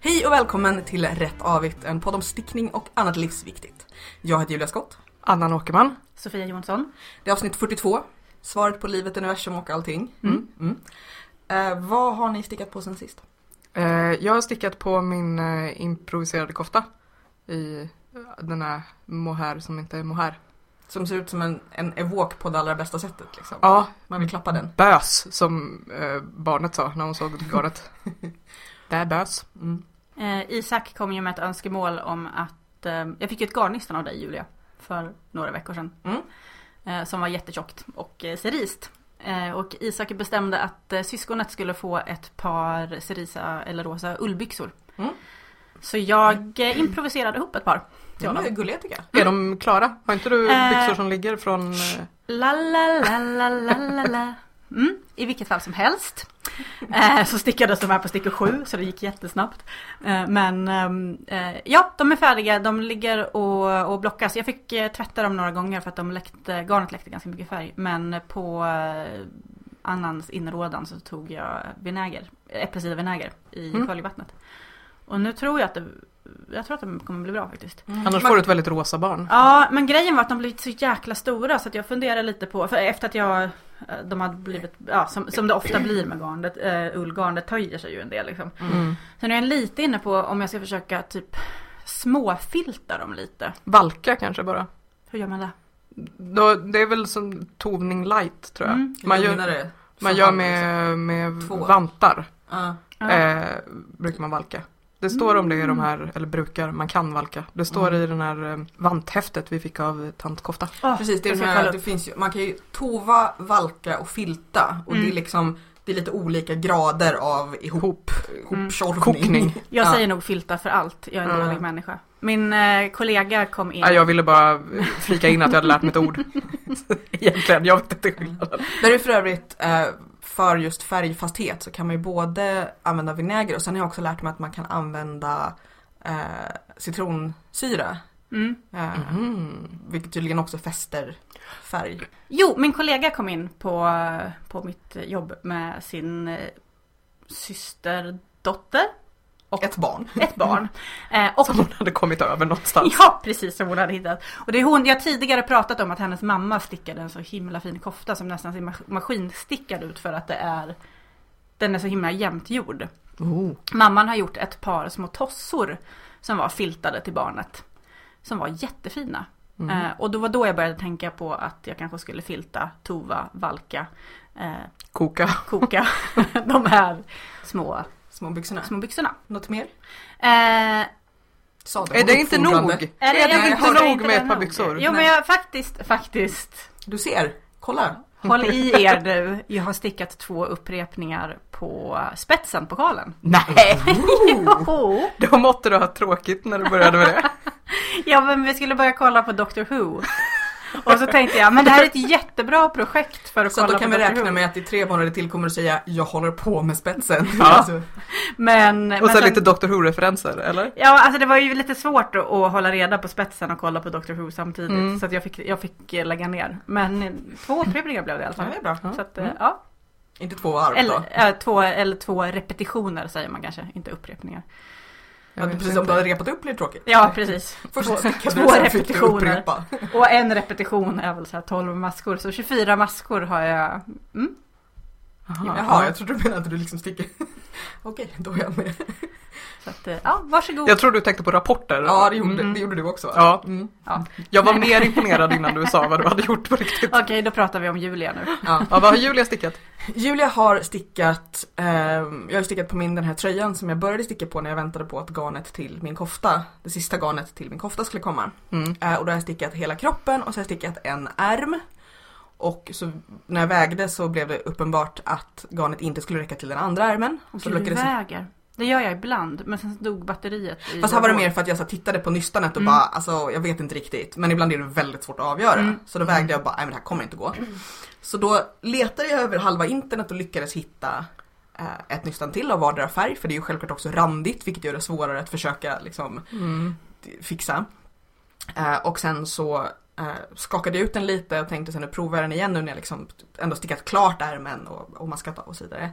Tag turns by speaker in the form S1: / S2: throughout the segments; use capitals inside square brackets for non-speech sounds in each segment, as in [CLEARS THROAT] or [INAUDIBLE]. S1: Hej och välkommen till Rätt Avigt, en podd om stickning och annat livsviktigt. Jag heter Julia Skott.
S2: Annan Åkerman.
S3: Sofia Jonsson.
S1: Det är avsnitt 42, svaret på livet, universum och allting. Mm. Mm. Eh, vad har ni stickat på sen sist?
S2: Eh, jag har stickat på min eh, improviserade kofta i eh, den här mohair som inte är mohair.
S1: Som ser ut som en, en evok på det allra bästa sättet. Liksom.
S2: Ja,
S1: Man vill klappa den.
S2: bös som eh, barnet sa när hon såg garnet. det är bös.
S1: Mm.
S3: Eh, Isak kom ju med ett önskemål om att, eh, jag fick ju ett garnnystan av dig Julia, för några veckor sedan.
S1: Mm.
S3: Eh, som var jättetjockt och eh, cerist. Eh, och Isak bestämde att eh, syskonet skulle få ett par cerisa eller rosa ullbyxor.
S1: Mm.
S3: Så jag eh, improviserade ihop ett par till
S1: De
S3: honom.
S1: är gulliga tycker jag.
S2: Är de klara? Har inte du
S3: Eh.
S2: byxor som ligger från... eh,
S3: La, la, la, la, la, la, la. Mm, I vilket fall som helst. Eh, så stickades de här på stickor 7 så det gick jättesnabbt. Eh, men ehm, eh, ja, de är färdiga. De ligger och, och blockas. Jag fick eh, tvätta dem några gånger för att de läckte, garnet läckte ganska mycket färg. Men på eh, Annans inrådan så tog jag vinäger, äppelcidervinäger i
S2: Mm.
S3: sköljevattnet. Och nu tror jag att det, jag tror att de kommer bli bra faktiskt.
S1: Mm.
S2: Annars får du ett väldigt rosa barn.
S3: Ja, men grejen var att de blivit så jäkla stora så att jag funderar lite på, för efter att jag, eh, de hade blivit, ja som, som det ofta blir med garnet, uh, ullgarnet töjer sig ju en del liksom.
S2: Mm.
S3: Så nu är jag lite inne på om jag ska försöka typ småfilta dem lite.
S2: Valka kanske bara.
S3: Hur gör man det?
S2: Då, det är väl som toning light tror jag.
S3: Mm.
S2: Man
S1: Lugnare
S2: gör,
S1: som
S2: man
S1: fan,
S2: gör
S1: liksom.
S2: med, med
S1: Två.
S2: vantar.
S1: Ja.
S3: Ja.
S2: eh, brukar man valka. Det står om det i de här, eller brukar, man kan valka. Det står
S1: Mm.
S2: i den här eh, vanthäftet vi fick av tant Kofta.
S3: Åh,
S1: Precis, det är
S3: då
S1: det
S3: ska jag kolla
S1: här,
S3: upp.
S1: det finns ju, man kan ju tova, valka och filta och det är
S3: Mm.
S1: liksom det är lite olika grader av ihop,
S2: Ihop.
S1: ihoptjorvning.
S2: Mm. Kokning.
S3: Mm. Jag
S1: Ja.
S3: säger nog filta för allt, jag är en
S2: Mm.
S3: dålig människa. Min eh, kollega kom in.
S2: Nej, jag ville bara flika in att jag hade lärt mig
S1: [LAUGHS]
S2: ett ord. Egentligen, jag vet inte skillnaden.
S1: Där är för övrigt eh, för just färgfasthet så kan man ju både använda vinäger och sen har jag också lärt mig att man kan använda eh, citronsyra.
S3: Mm.
S1: Eh,
S2: Mhm.
S1: Vilket tydligen också fäster färg.
S3: Jo, min kollega kom in på, eh, på mitt jobb med sin eh, systerdotter,
S1: Ett barn.
S3: ett barn. Eh, och
S2: Mm. Som hon hade kommit över någonstans.
S1: [LAUGHS]
S3: Ja, precis som hon hade hittat. Och det är hon, jag har tidigare pratat om att hennes mamma stickade en så himla fin kofta som nästan ser mas- maskinstickad ut för att det är den är så himla jämnt gjord.
S2: Oh.
S3: Mamman har gjort ett par små tossor som var filtade till barnet. Som var jättefina.
S2: Mm.
S3: Eh, och då var då jag började tänka på att jag kanske skulle filta, tova, valka, eh,
S2: Koka. [LAUGHS]
S3: koka [LAUGHS] de här små,
S1: Små byxorna.
S3: små byxorna.
S1: Något mer?
S3: Eh,
S1: Sadeln.
S2: Är det inte nog?
S1: Uppfordrande.
S2: Är
S3: Är det, jag
S2: det
S3: tyckte
S2: inte
S3: det
S2: nog med
S3: var
S2: ett par
S3: nog.
S2: byxor?
S3: Jo men
S1: Nej.
S3: jag
S1: [LAUGHS]
S3: faktiskt, faktiskt.
S1: Du ser, kolla.
S3: Håll i er nu. Jag har stickat två upprepningar på spetsen på kalen.
S2: Nej! [LAUGHS]
S1: Oh!
S3: Jo!
S2: Då måtte du ha tråkigt när du
S1: [LAUGHS]
S2: började med det.
S3: [LAUGHS] Ja men vi skulle börja kolla på Doctor Who. Och så tänkte jag, men det här är ett jättebra projekt för att
S1: Så att
S3: kolla
S1: då kan
S3: på
S1: vi
S3: Doctor
S1: räkna
S3: Who.
S1: med att i tre månader till kommer du säga jag håller på med spetsen.
S2: Ja.
S1: Alltså,
S3: Men, men
S2: Och sen
S3: sen-
S2: lite Doctor Who-referenser, eller?
S3: Ja, alltså det var ju lite svårt att, att hålla reda på spetsen och kolla på Doctor Who samtidigt.
S2: Mm.
S3: Så att jag fick, jag fick eh, lägga ner. Men eh, två upprepningar blev det i alla
S1: ja,
S3: fall.
S1: det är bra.
S3: Så att, eh,
S2: Mm.
S3: ja.
S1: Inte två varv då.
S3: Eller, eh, två, eller två repetitioner säger man kanske, inte upprepningar.
S1: Ja,
S2: Jag vet
S1: precis,
S2: inte.
S1: om du hade repat upp blir det tråkigt.
S3: Ja, precis.
S1: Först
S3: Två-
S1: stickade
S3: två
S1: du, sen fick du
S3: repetitioner.
S1: upprepa.
S3: Och en repetition är väl så här 12 maskor, så 24 maskor har jag. Mm.
S1: Jaha, jag trodde du menade att du liksom sticker. [LAUGHS] Okej, då är jag med.
S3: Så att, eh, ja, varsågod.
S2: Jag tror du tänkte på rapporter.
S1: Ja, det gjorde,
S3: Mm.
S1: det gjorde du också va?
S2: Ja.
S1: Mm.
S2: Jag var mer imponerad innan du sa vad du hade gjort på riktigt.
S3: Okej, då pratar vi om Julia nu.
S1: Ja.
S2: Ja, vad har Julia stickat?
S1: Julia har stickat, ehm, jag har stickat på min den här tröjan som jag började sticka på när jag väntade på att garnet till min kofta, det sista garnet till min kofta skulle komma.
S2: Mm.
S1: Eh, och då har jag stickat hela kroppen och så har jag stickat en ärm. Och så när jag vägde så blev det uppenbart att garnet inte skulle räcka till den andra ärmen. Så
S3: Så du
S1: lyckades
S3: väger. Det gör jag ibland, men sen dog batteriet. I
S1: Fast här var det mer för att jag så här tittade på nystanet och
S3: Mm.
S1: bara, alltså jag vet inte riktigt. Men ibland är det väldigt svårt att avgöra.
S3: Mm.
S1: Så då vägde jag bara, nej men det här kommer inte gå. Så då letade jag över halva internet och lyckades hitta eh, ett nystan till av vardera färg. För det är ju självklart också randigt vilket gör det svårare att försöka liksom fixa. Eh, och sen så eh, skakade jag ut den lite och tänkte sen nu provar jag den igen nu när jag liksom ändå stickat klart ärmen och, och maskat av och så vidare.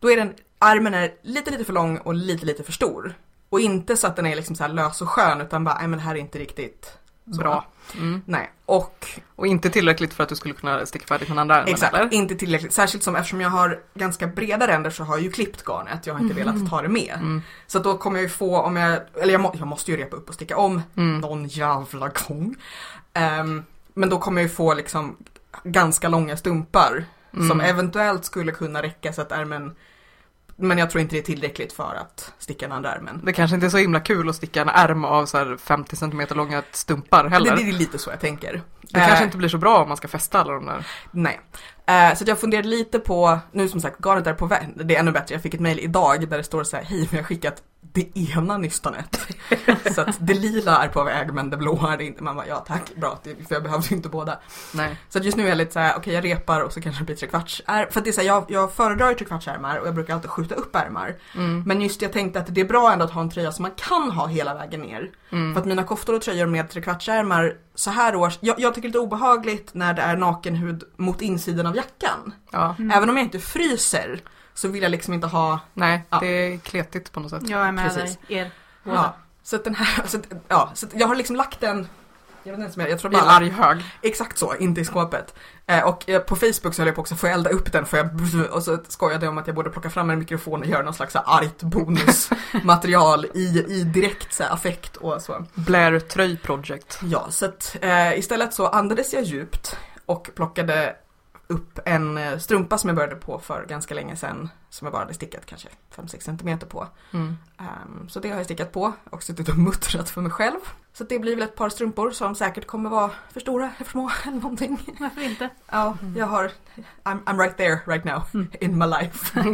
S1: Då är den, armen är lite lite för lång och lite lite för stor. Och inte så att den är liksom så här lös och skön utan bara, nej men det här är inte riktigt så.
S2: Bra. Mm.
S1: Nej, och
S2: Och inte tillräckligt för att du skulle kunna sticka färdigt med den andra ärmen,
S1: Exakt,
S2: eller?
S1: inte tillräckligt. Särskilt som eftersom jag har ganska breda ränder så har jag ju klippt garnet. Jag har inte velat ta det med.
S2: Mm.
S1: Så att då kommer jag ju få om jag, eller jag, må, jag måste ju repa upp och sticka om
S2: Mm.
S1: någon jävla gång. Ehm, men då kommer jag ju få liksom ganska långa stumpar som
S2: Mm.
S1: eventuellt skulle kunna räcka så att ärmen, men jag tror inte det är tillräckligt för att sticka den andra ärmen.
S2: Det kanske inte är så himla kul att sticka en ärm av så här 50 cm långa stumpar
S1: Det, det
S2: heller. Det,
S1: är lite så jag tänker.
S2: kanske
S1: Eh,
S2: inte blir så bra om man ska fästa alla de där.
S1: Nej. Eh, så att jag funderade lite på, nu som sagt garnet är på väg, det är ännu bättre, jag fick ett mejl idag där det står så här, hej vi har skickat det ena
S2: [LAUGHS]
S1: nystanet. så att det lila är på väg men det blåa är det inte. Man bara, ja tack, bra, det- för jag behövde ju inte båda.
S2: Nej.
S1: Så att just nu är jag lite så här, okej jag repar och så kanske det blir trekvartsärm. För att det är så här, jag, jag föredrar ju trekvartsärmar och jag brukar alltid skjuta upp ärmar.
S2: Mm.
S1: Men just jag tänkte att det är bra ändå att ha en tröja som man kan ha hela vägen ner.
S2: Mm.
S1: För att mina koftor och tröjor med trekvartsärmar så här års, jag, jag tycker det är lite obehagligt när det är nakenhud mot insidan av jackan.
S2: Ja,
S3: Mm.
S1: Även om jag inte fryser så vill jag liksom inte ha,
S2: nej,
S1: Ja.
S2: det är kletigt på något sätt.
S3: Jag är med
S1: Precis.
S3: dig. Er. båda.
S1: ja. Så att den här, så att, ja, så att jag har liksom lagt den jag vet inte ens om jag, jag tror
S2: I en
S1: bara
S2: arg hög.
S1: Exakt så, inte i skåpet. Eh, och eh, på Facebook så höll jag på också, får jag elda upp den? Får jag... [LAUGHS] Och så skojade jag om att jag borde plocka fram en mikrofon och göra någon slags så här argt bonusmaterial i, i direkt så här, affekt och så.
S2: Blair Tröj Project.
S1: Ja, så att eh, istället så andades jag djupt och plockade upp en eh, strumpa som jag började på för ganska länge sedan som jag bara hade stickat kanske 5-6 cm på.
S2: Mm.
S1: Ehm, så det har jag stickat på och suttit och [LAUGHS] muttrat för mig själv. Så det blir väl ett par strumpor som säkert kommer vara för stora, för små eller någonting.
S3: Varför inte?
S1: Ja,
S2: Mm.
S1: jag har, I'm, I'm right there right now
S3: Mm.
S1: in my
S2: [LAUGHS]
S1: life. [LAUGHS]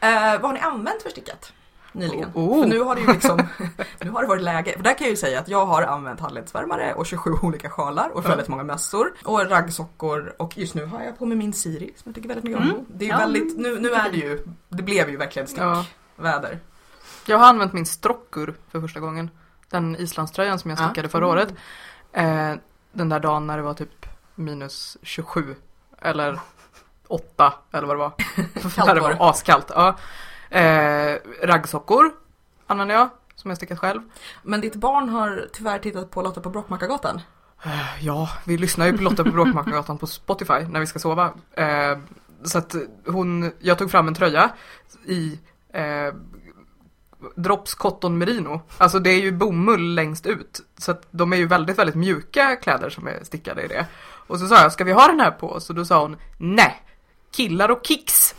S1: Eh, vad har ni använt för stickat nyligen?
S2: Oh.
S1: För nu har det ju liksom, [LAUGHS] nu har det varit läge. För där kan jag ju säga att jag har använt handledsvärmare och 27 olika sjalar och
S2: Ja.
S1: väldigt många mössor och raggsockor och just nu har jag på mig min Siri som jag tycker väldigt mycket om.
S3: Mm.
S1: Det är ju
S3: Ja,
S1: väldigt, nu, nu är det ju, det blev ju verkligen
S2: Ja.
S1: stickväder.
S2: Jag har använt min strockur för första gången. Den islandströjan som jag
S1: Ja.
S2: stickade förra året. Eh, den där dagen när det var typ minus 27 eller 8
S1: [LAUGHS]
S2: eller vad det var.
S1: Kallt
S2: när det
S1: var
S2: var askallt. Ja. Eh, raggsockor använder jag som jag stickat själv.
S1: Men ditt barn har tyvärr tittat på Lotta på Brottmakargatan.
S2: Eh, Ja, vi lyssnar ju på Lotta på Bråkmakargatan på Spotify när vi ska sova. Eh, så att hon, jag tog fram en tröja i eh, Drops Cotton Merino. Alltså det är ju bomull längst ut. Så att de är ju väldigt, väldigt mjuka kläder som är stickade i det. Och så sa jag, ska vi ha den här på oss? Och då sa hon, nej, killar och kicks.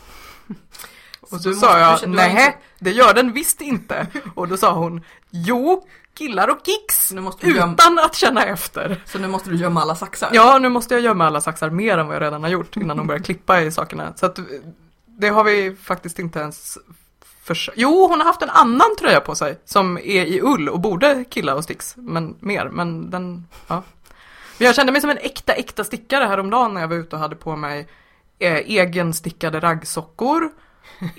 S2: Och
S1: du
S2: så
S1: måste-
S2: sa
S1: du
S2: jag,
S1: känner- du har
S2: nej,
S1: inte-
S2: det gör den visst inte. Och då sa hon, jo, killar och kicks.
S1: Nu måste du gömma,
S2: Utan att känna efter.
S1: så nu måste du gömma alla saxar.
S2: Ja, nu måste jag gömma alla saxar mer än vad jag redan har gjort innan de börjar klippa i sakerna. Så att eh, det har vi faktiskt inte ens förs- Jo, hon har haft en annan tröja på sig som är i ull och borde killa och sticks, men mer, men den, ja. Men jag kände mig som en äkta, äkta stickare häromdagen när jag var ute och hade på mig eh,
S1: [LAUGHS]
S2: egenstickade raggsockor,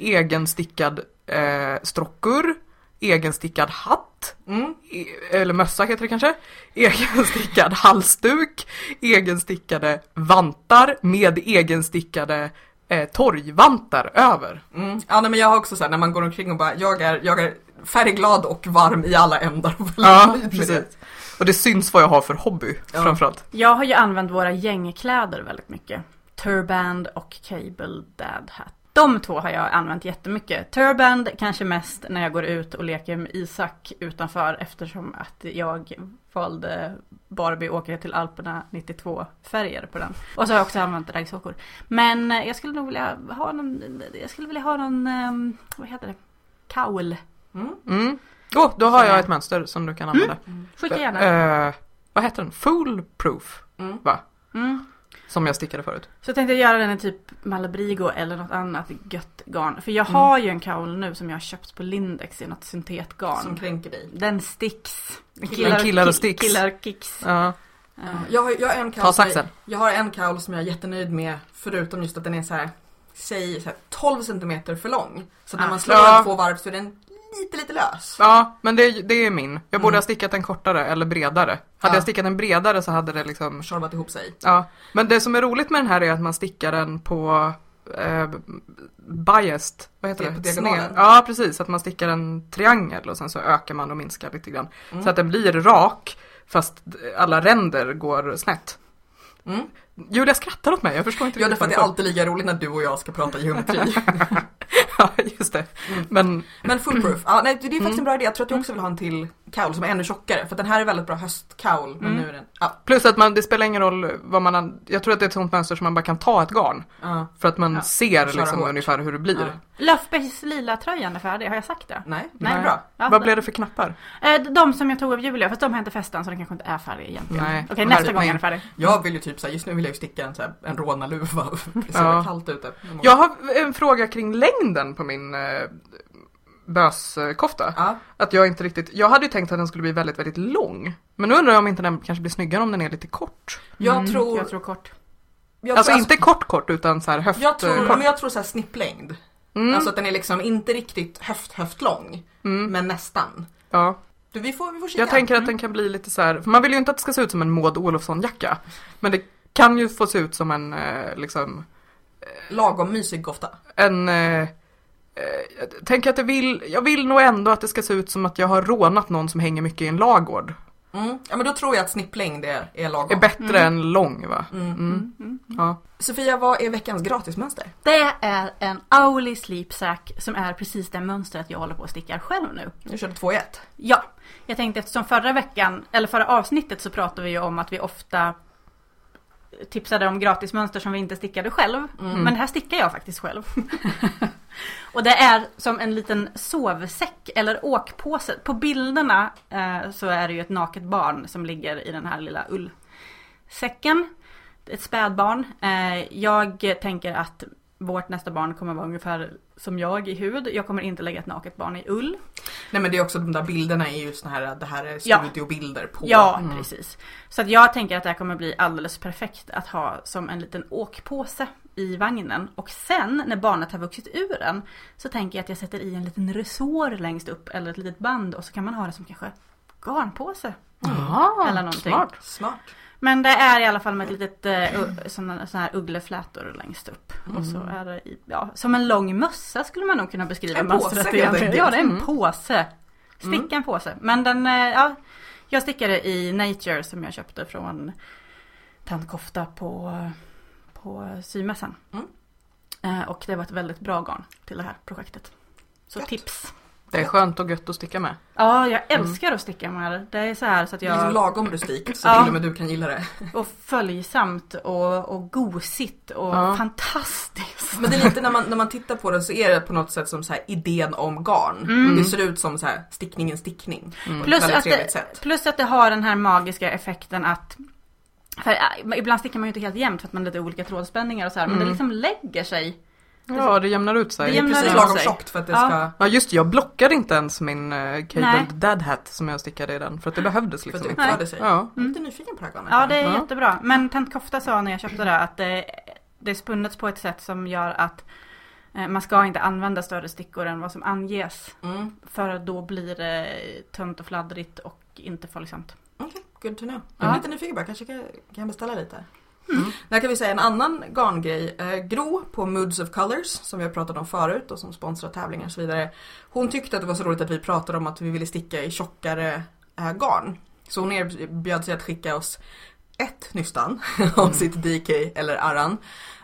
S2: egenstickad eh, strockur, egenstickad hatt,
S1: Mm.
S2: E- eller mössa heter det kanske, egenstickad halsduk, egenstickade vantar med egenstickade eh, torgvantar över.
S1: Mm. Ja, nej, men jag har också så här, när man går omkring och bara, jag är, jag är färgglad och varm i alla ändar. och väldigt nöjd med det.
S2: Mm, Och det syns vad jag har för hobby
S1: Ja.
S2: framförallt.
S3: Jag har ju använt våra gängkläder väldigt mycket. Turband och Cable Dad Hat. De två har jag använt jättemycket. Turband kanske mest när jag går ut och leker med Isak utanför eftersom att jag valde Barbie åker till Alperna 92 färger på den. Och så har jag också använt raggsockor. Men eh, jag skulle nog vilja ha någon, jag skulle vilja ha någon, ehm, vad heter det, kaul.
S1: Mm.
S2: Mm. Åh, då har
S3: Så
S2: jag
S3: jag-
S2: ett mönster som du kan använda.
S3: Skicka gärna.
S2: Eh, vad heter den? Foolproof,
S1: Mm.
S3: Mm.
S2: som jag stickade förut.
S3: Så tänkte jag göra den i typ Malabrigo eller något annat gött garn. För jag
S2: Mm.
S3: har ju en kaul nu som jag har köpt på Lindex i något syntetgarn.
S1: Som kränker dig.
S3: Den sticks.
S2: Killar och
S3: ki-
S2: sticks.
S3: Killar och kicks.
S2: Ja,
S3: Eh,
S1: Jag har, jag, har en
S2: ta
S1: kaul som jag,
S2: saxen.
S1: jag har en kaul som jag är jättenöjd med, förutom just att den är så här, säg så här, 12 cm för lång. Så när
S3: Ah.
S1: man slår
S2: Ja.
S1: den två varv så är den lite, lite lös.
S2: Ja, men det, det är min. Jag borde
S1: Mm.
S2: ha stickat en kortare eller bredare. Hade
S1: Ja.
S2: jag stickat en bredare så hade det liksom
S1: Tjorvat ihop sig.
S2: Ja, men det som är roligt med den här är att man stickar den på eh, biased, vad heter
S1: Det
S2: det?
S1: är på diagonalen.
S2: Sned. Ja precis, att man stickar en triangel och sen så ökar man och minskar lite grann.
S1: Mm.
S2: Så att den blir rak fast alla ränder går snett.
S1: Mm.
S2: Julia skrattar åt mig, jag förstår inte
S1: Ja, därför
S2: riktigt
S1: att det är
S2: varför.
S1: alltid lika roligt när du och jag ska prata
S2: [LAUGHS]
S1: geometri.
S2: Ja, just det.
S1: Mm.
S2: Men
S1: Men foolproof. Ja, nej, det är faktiskt
S2: Mm.
S1: en bra idé. Jag tror att jag också vill ha en till kaul som är ännu tjockare. För den här är väldigt bra höstkaul. Men
S3: Mm.
S1: nu är den... Ja,
S2: plus att man, det spelar ingen roll vad man... an- Jag tror att det är ett sånt mönster som man bara kan ta ett garn.
S1: ja.
S2: För att man
S3: Ja,
S2: ser
S1: köra
S2: liksom
S1: hårt.
S2: ungefär hur det blir.
S1: Ja.
S3: Löfbergs lila tröjan är färdig, har jag sagt det?
S1: Nej, det
S3: Nej.
S1: är bra.
S3: Ja,
S2: Vad blev det för knappar?
S3: Eh, De som jag tog av Julia, fast de har inte festan så den kanske inte är färdig egentligen.
S2: Nej.
S3: Okej, nästa
S2: Skärpning.
S3: gång är den färdig.
S1: Jag vill ju typ såhär, just nu vill jag ju sticka en, såhär, en rånaluva. [LAUGHS] Det är så
S2: Ja.
S1: kallt ute.
S2: Jag har en fråga kring längden på min eh, böskofta.
S1: Ja.
S2: Att jag inte riktigt... Jag hade ju tänkt att den skulle bli väldigt, väldigt lång. Men nu undrar jag om inte den kanske blir snyggare om den är lite kort.
S1: Jag
S3: Mm,
S1: tror...
S3: Jag tror kort.
S1: jag
S2: alltså
S1: tror-
S2: inte kort kort utan så här höft
S1: Jag tror,
S2: eh,
S1: men
S2: kort.
S1: jag tror såhär snipplängd.
S2: Mm,
S1: Alltså att den är liksom inte riktigt höft höft lång.
S2: mm,
S1: Men nästan.
S2: ja.
S1: Du, vi får, vi får kika.
S2: Jag tänker att den kan bli lite så här, för man vill ju inte att det ska se ut som en Maud Olofsson-jacka. Men det kan ju få se ut som en, eh, liksom,
S1: Lagom mysig kofta.
S2: en... Eh, eh, jag tänker att jag vill, jag vill nog ändå att det ska se ut som att jag har rånat någon som hänger mycket i en lagård.
S1: Mm. Ja men då tror jag att snipplängd är, är
S2: Är
S1: lagom.
S2: bättre än lång va?
S1: Mm.
S2: Mm.
S3: Mm.
S2: Ja.
S1: Sofia, vad är veckans gratismönster?
S3: Det är en Auli Sleepsack som är precis det mönstret jag håller på att sticka själv nu.
S1: Nu körde två i ett.
S3: Ja, jag tänkte eftersom förra veckan, eller förra avsnittet så pratade vi ju om att vi ofta tipsade om gratismönster som vi inte stickade själv.
S1: Mm.
S3: Men här stickar jag faktiskt själv. [LAUGHS] och det är som en liten sovsäck eller åkpåse. På bilderna eh, så är det ju ett naket barn som ligger i den här lilla ullsäcken. Ett spädbarn. Eh, jag tänker att vårt nästa barn kommer vara ungefär som jag i hud. Jag kommer inte lägga ett naket barn i ull.
S1: Nej men det är också de där bilderna är ju såna här, det här är
S3: Ja.
S1: studiobilder på.
S3: Ja,
S2: Mm.
S3: precis. Så att jag tänker att det här kommer bli alldeles perfekt att ha som en liten åkpåse i vagnen. Och sen när barnet har vuxit ur den så tänker jag att jag sätter i en liten resår längst upp eller ett litet band och så kan man ha det som kanske garnpåse.
S2: Ah,
S3: Eller någonting.
S2: Smart.
S1: Smart.
S3: Men det är i alla fall med ett litet eh, u- såna, såna här uggleflätor längst upp. Och
S1: Alltså,
S3: så är Mm. det i, ja, som en lång mössa skulle man nog kunna beskriva
S1: Mm. En
S3: mönstret
S1: påse, helt
S3: egentligen.
S1: enkelt.
S3: Ja, det är en
S2: Mm.
S3: påse. Sticka en påse. Men den, eh, ja, jag stickade i Nature som jag köpte från Tant Kofta på, på symässan.
S1: Mm.
S3: Eh, och det var ett väldigt bra garn till det här projektet. Så
S1: Gött. Mm.
S3: tips!
S2: Det är skönt och gött att sticka med.
S3: Ja, jag älskar att sticka med. Det är så här så att
S1: Det är liksom
S3: jag...
S1: lagom rustikt så
S3: Ja.
S1: till och med du kan gilla det.
S3: Och följsamt och, och gosigt och
S2: Ja.
S3: fantastiskt.
S1: Men det är lite när man, när man tittar på det så är det på något sätt som så här idén om garn.
S3: Mm.
S1: Det ser ut som så här stickningen stickning.
S2: Mm.
S1: Plus
S3: Plus
S1: väldigt
S3: att det-
S1: trevligt sätt.
S3: Plus att det har den här magiska effekten att för eh, ibland stickar man ju inte helt jämnt för att man har lite olika trådspänningar och så här. Men det
S2: Mm.
S3: liksom lägger sig.
S2: Ja, det jämnar ut sig.
S3: Det jämnar
S1: Precis
S3: ut
S1: lagom
S3: Mm. sig.
S1: tjockt för att det
S3: Ja.
S1: ska...
S2: Ja just det, jag blockade inte ens min uh,
S3: Nej.
S2: cabled dad hat som jag stickade i den för att det behövdes
S1: För att
S2: liksom
S1: det
S2: inte.
S1: utförde sig. Jag
S2: Ja.
S1: är lite nyfiken på det här garnet.
S3: Ja det är
S2: Ja.
S3: jättebra. Men Tant Kofta sa när jag köpte det att det, det är spunnet på ett sätt som gör att eh, man ska inte använda större stickor än vad som anges.
S1: Mm.
S3: För då blir det tunt och fladdrigt och inte följsamt.
S1: Okej, good to know. Jag är
S3: Ja.
S1: lite nyfiken bara, kanske kan, kan jag beställa lite.
S2: Mm.
S1: Där kan vi säga en annan garngrej. Eh, Gro på Moods of Colors som vi har pratat om förut och som sponsrar tävlingar och så vidare. Hon tyckte att det var så roligt att vi pratade om att vi ville sticka i tjockare eh, garn. Så hon erbjöd sig att skicka oss ett nystan [LAUGHS] av sitt DK eller Arran.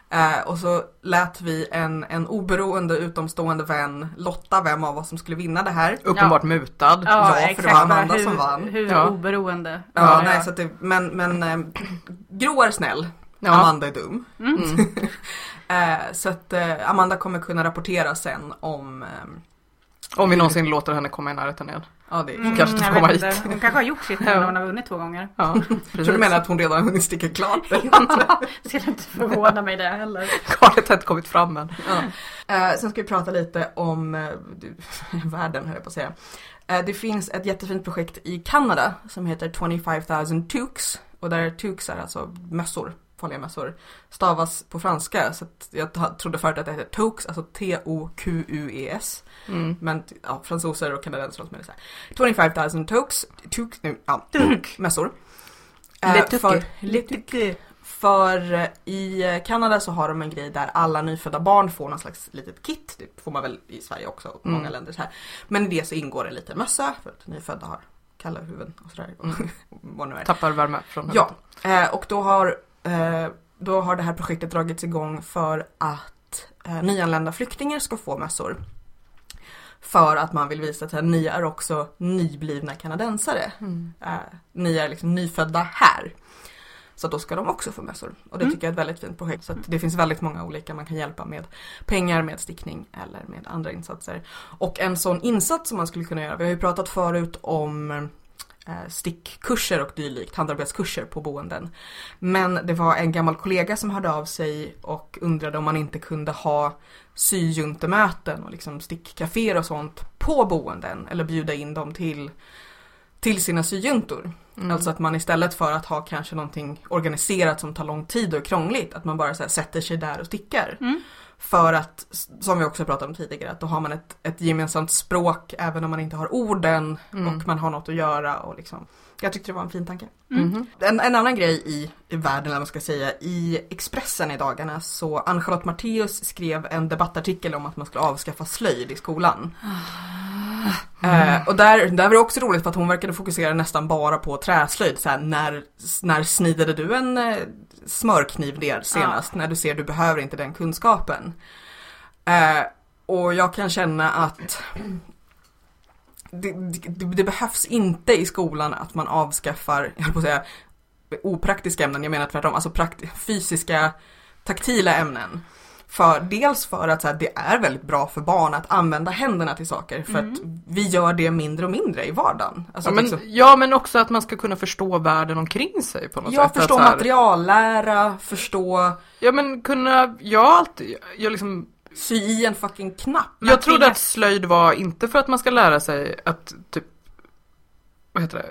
S1: Eh, och så lät vi en, en oberoende utomstående vän lotta vem av oss som skulle vinna det här.
S2: Uppenbart mutad.
S1: Ja, för det var Amanda
S3: hur,
S1: som vann.
S3: Hur
S2: Ja.
S3: oberoende.
S1: Ja,
S3: var
S1: nej,
S3: jag.
S1: så att det, men, men eh, [CLEARS THROAT] Gro är snäll,
S2: Ja.
S1: Amanda är dum.
S3: Mm.
S1: Eh, så att eh, Amanda kommer kunna rapportera sen om... ehm,
S2: Om vi någonsin låter henne komma i närheten igen.
S1: ja, det är...
S3: Mm,
S2: kanske inte
S3: jag
S2: komma
S3: vet
S2: hit.
S3: Hon kanske har gjort sitt nu
S2: Ja.
S3: när hon har vunnit två gånger.
S1: [LAUGHS]
S2: Ja,
S1: Jag tror du menar att hon redan har hunnit sticka [LAUGHS] klart?
S3: Skulle inte förvåna mig det heller.
S2: Garnet har inte kommit fram än.
S1: ja. eh, sen ska vi prata lite om eh, du, [LAUGHS] världen, höll jag på att säga. Eh, det finns ett jättefint projekt i Kanada som heter 25,000 Tukes. Och där Tukes är alltså mössor, farliga mössor. Stavas på franska, så att jag ta- trodde förut att det hette Tukes, alltså T-O-Q-U-E-S.
S2: Mm.
S1: Men ja, fransoser och kanadensare och så med det så här. 25,000 Tukes, Tukes nu, ja,
S3: Dunk.
S1: mössor.
S2: Le
S1: Eh,
S2: tuque.
S1: för, le tuque. För eh, i Kanada så har de en grej där alla nyfödda barn får någon slags litet kit. Det får man väl i Sverige också och många
S2: Mm.
S1: länder så här. Men i det så ingår en liten mössa för att nyfödda har kalla huvuden och sådär.
S2: Mm.
S1: [LAUGHS] Vad nu är.
S2: Tappar värme från
S1: Ja, eh, och då har, eh, då har det här projektet dragits igång för att eh, nyanlända flyktingar ska få mössor. För att man vill visa att här, ni är också nyblivna kanadensare.
S2: Mm.
S1: Eh, ni är liksom nyfödda här. Så då ska de också få mössor. Och det
S3: Mm.
S1: tycker jag är ett väldigt fint projekt. Så att det finns väldigt många olika man kan hjälpa med. Pengar, med stickning eller med andra insatser. Och en sån insats som man skulle kunna göra. Vi har ju pratat förut om eh, stickkurser och dylikt, handarbetskurser på boenden. Men det var en gammal kollega som hörde av sig och undrade om man inte kunde ha syjuntemöten och liksom stickcaféer och sånt på boenden eller bjuda in dem till, till sina syjuntor.
S2: Mm.
S1: Alltså att man istället för att ha kanske någonting organiserat som tar lång tid och är krångligt, att man bara så här sätter sig där och stickar.
S3: Mm.
S1: För att, som vi också pratade om tidigare, att då har man ett, ett gemensamt språk även om man inte har orden
S2: Mm.
S1: och man har något att göra och liksom. Jag tyckte det var en fin tanke.
S3: Mm.
S2: Mhm.
S1: En, en annan grej i, i världen, eller vad man ska säga, i Expressen i dagarna så Ann-Charlotte Matteus skrev en debattartikel om att man skulle avskaffa slöjd i skolan. Eh, och där, där var det också roligt för att hon verkade fokusera nästan bara på träslöjd. Så här, när, när snidade du en eh, smörkniv ner senast? När du ser du behöver inte den kunskapen. Eh, och jag kan känna att det, det, det behövs inte i skolan att man avskaffar, jag höll på att säga, opraktiska ämnen, jag menar tvärtom, alltså prakt- fysiska taktila ämnen. För, dels för att så här, det är väldigt bra för barn att använda händerna till saker för att vi gör det mindre och mindre i vardagen. Alltså,
S2: Mm. Ja
S1: liksom,
S2: men, ja men också att man ska kunna förstå världen omkring sig på något
S1: jag
S2: sätt. Att
S1: förstår
S2: så här-
S1: materiallära, förstå
S2: Ja men kunna, jag har alltid, jag liksom
S1: sy i en fucking knapp.
S2: Jag trodde att slöjd var inte för att man ska lära sig att typ, vad heter det,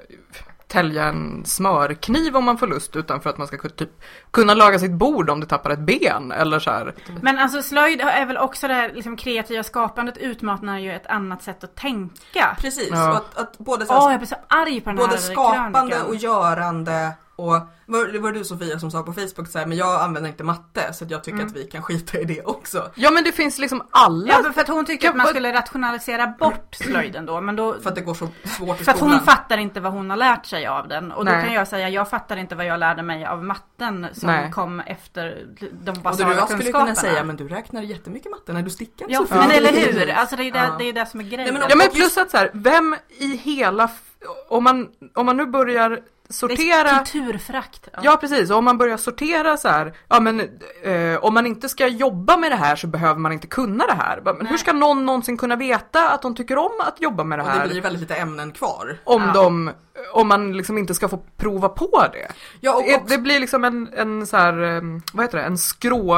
S2: tälja en smörkniv om man får lust, utan för att man ska ku- typ kunna laga sitt bord om det tappar ett ben eller så här.
S3: Men alltså slöjd är väl också det här liksom, kreativa skapandet utmanar ju ett annat sätt att tänka.
S1: Precis,
S2: Ja.
S1: och att, att både så här,
S3: Åh, jag blir så arg på den här
S1: Både skapande
S3: krönikan.
S1: och görande och var, det var du Sofia som sa på Facebook så här, men jag använder inte matte så att jag tycker
S3: Mm.
S1: att vi kan skita i det också.
S2: Ja men det finns liksom alla.
S3: Ja, för att hon tycker att man
S2: Vad-
S3: skulle rationalisera bort slöjden då. Men då
S1: För att det går så svårt i
S3: för att
S1: skolan.
S3: hon fattar inte vad hon har lärt sig av den. Och då
S2: Nej.
S3: kan jag säga, jag fattar inte vad jag lärde mig av matten som
S2: Nej.
S3: kom efter de
S1: och du och
S3: basala
S1: jag skulle
S3: kunskaperna.
S1: kunna säga, men du räknar jättemycket matte när du stickar
S3: Ja,
S1: Sofia."
S3: men
S2: Ja.
S3: eller hur? Alltså det är ju det,
S1: Ja.
S3: det, är ju det som är grejen.
S1: men
S2: Ja men
S1: och
S2: plus
S1: just-
S2: att så här, vem i hela, f- om man, om man nu börjar
S3: Det är
S2: sortera
S3: kulturfrakt. Ja.
S2: Ja precis, och om man börjar sortera så här, ja men eh, om man inte ska jobba med det här så behöver man inte kunna det här. Men
S3: Nej.
S2: hur ska någon någonsin kunna veta att de tycker om att jobba med det
S1: Och
S2: här?
S1: det blir väldigt lite ämnen kvar.
S2: om,
S3: Ja.
S2: de, om man liksom inte ska få prova på det.
S1: Ja, och
S2: Det-
S1: också-
S2: det blir liksom en, en så här, eh, vad heter det, en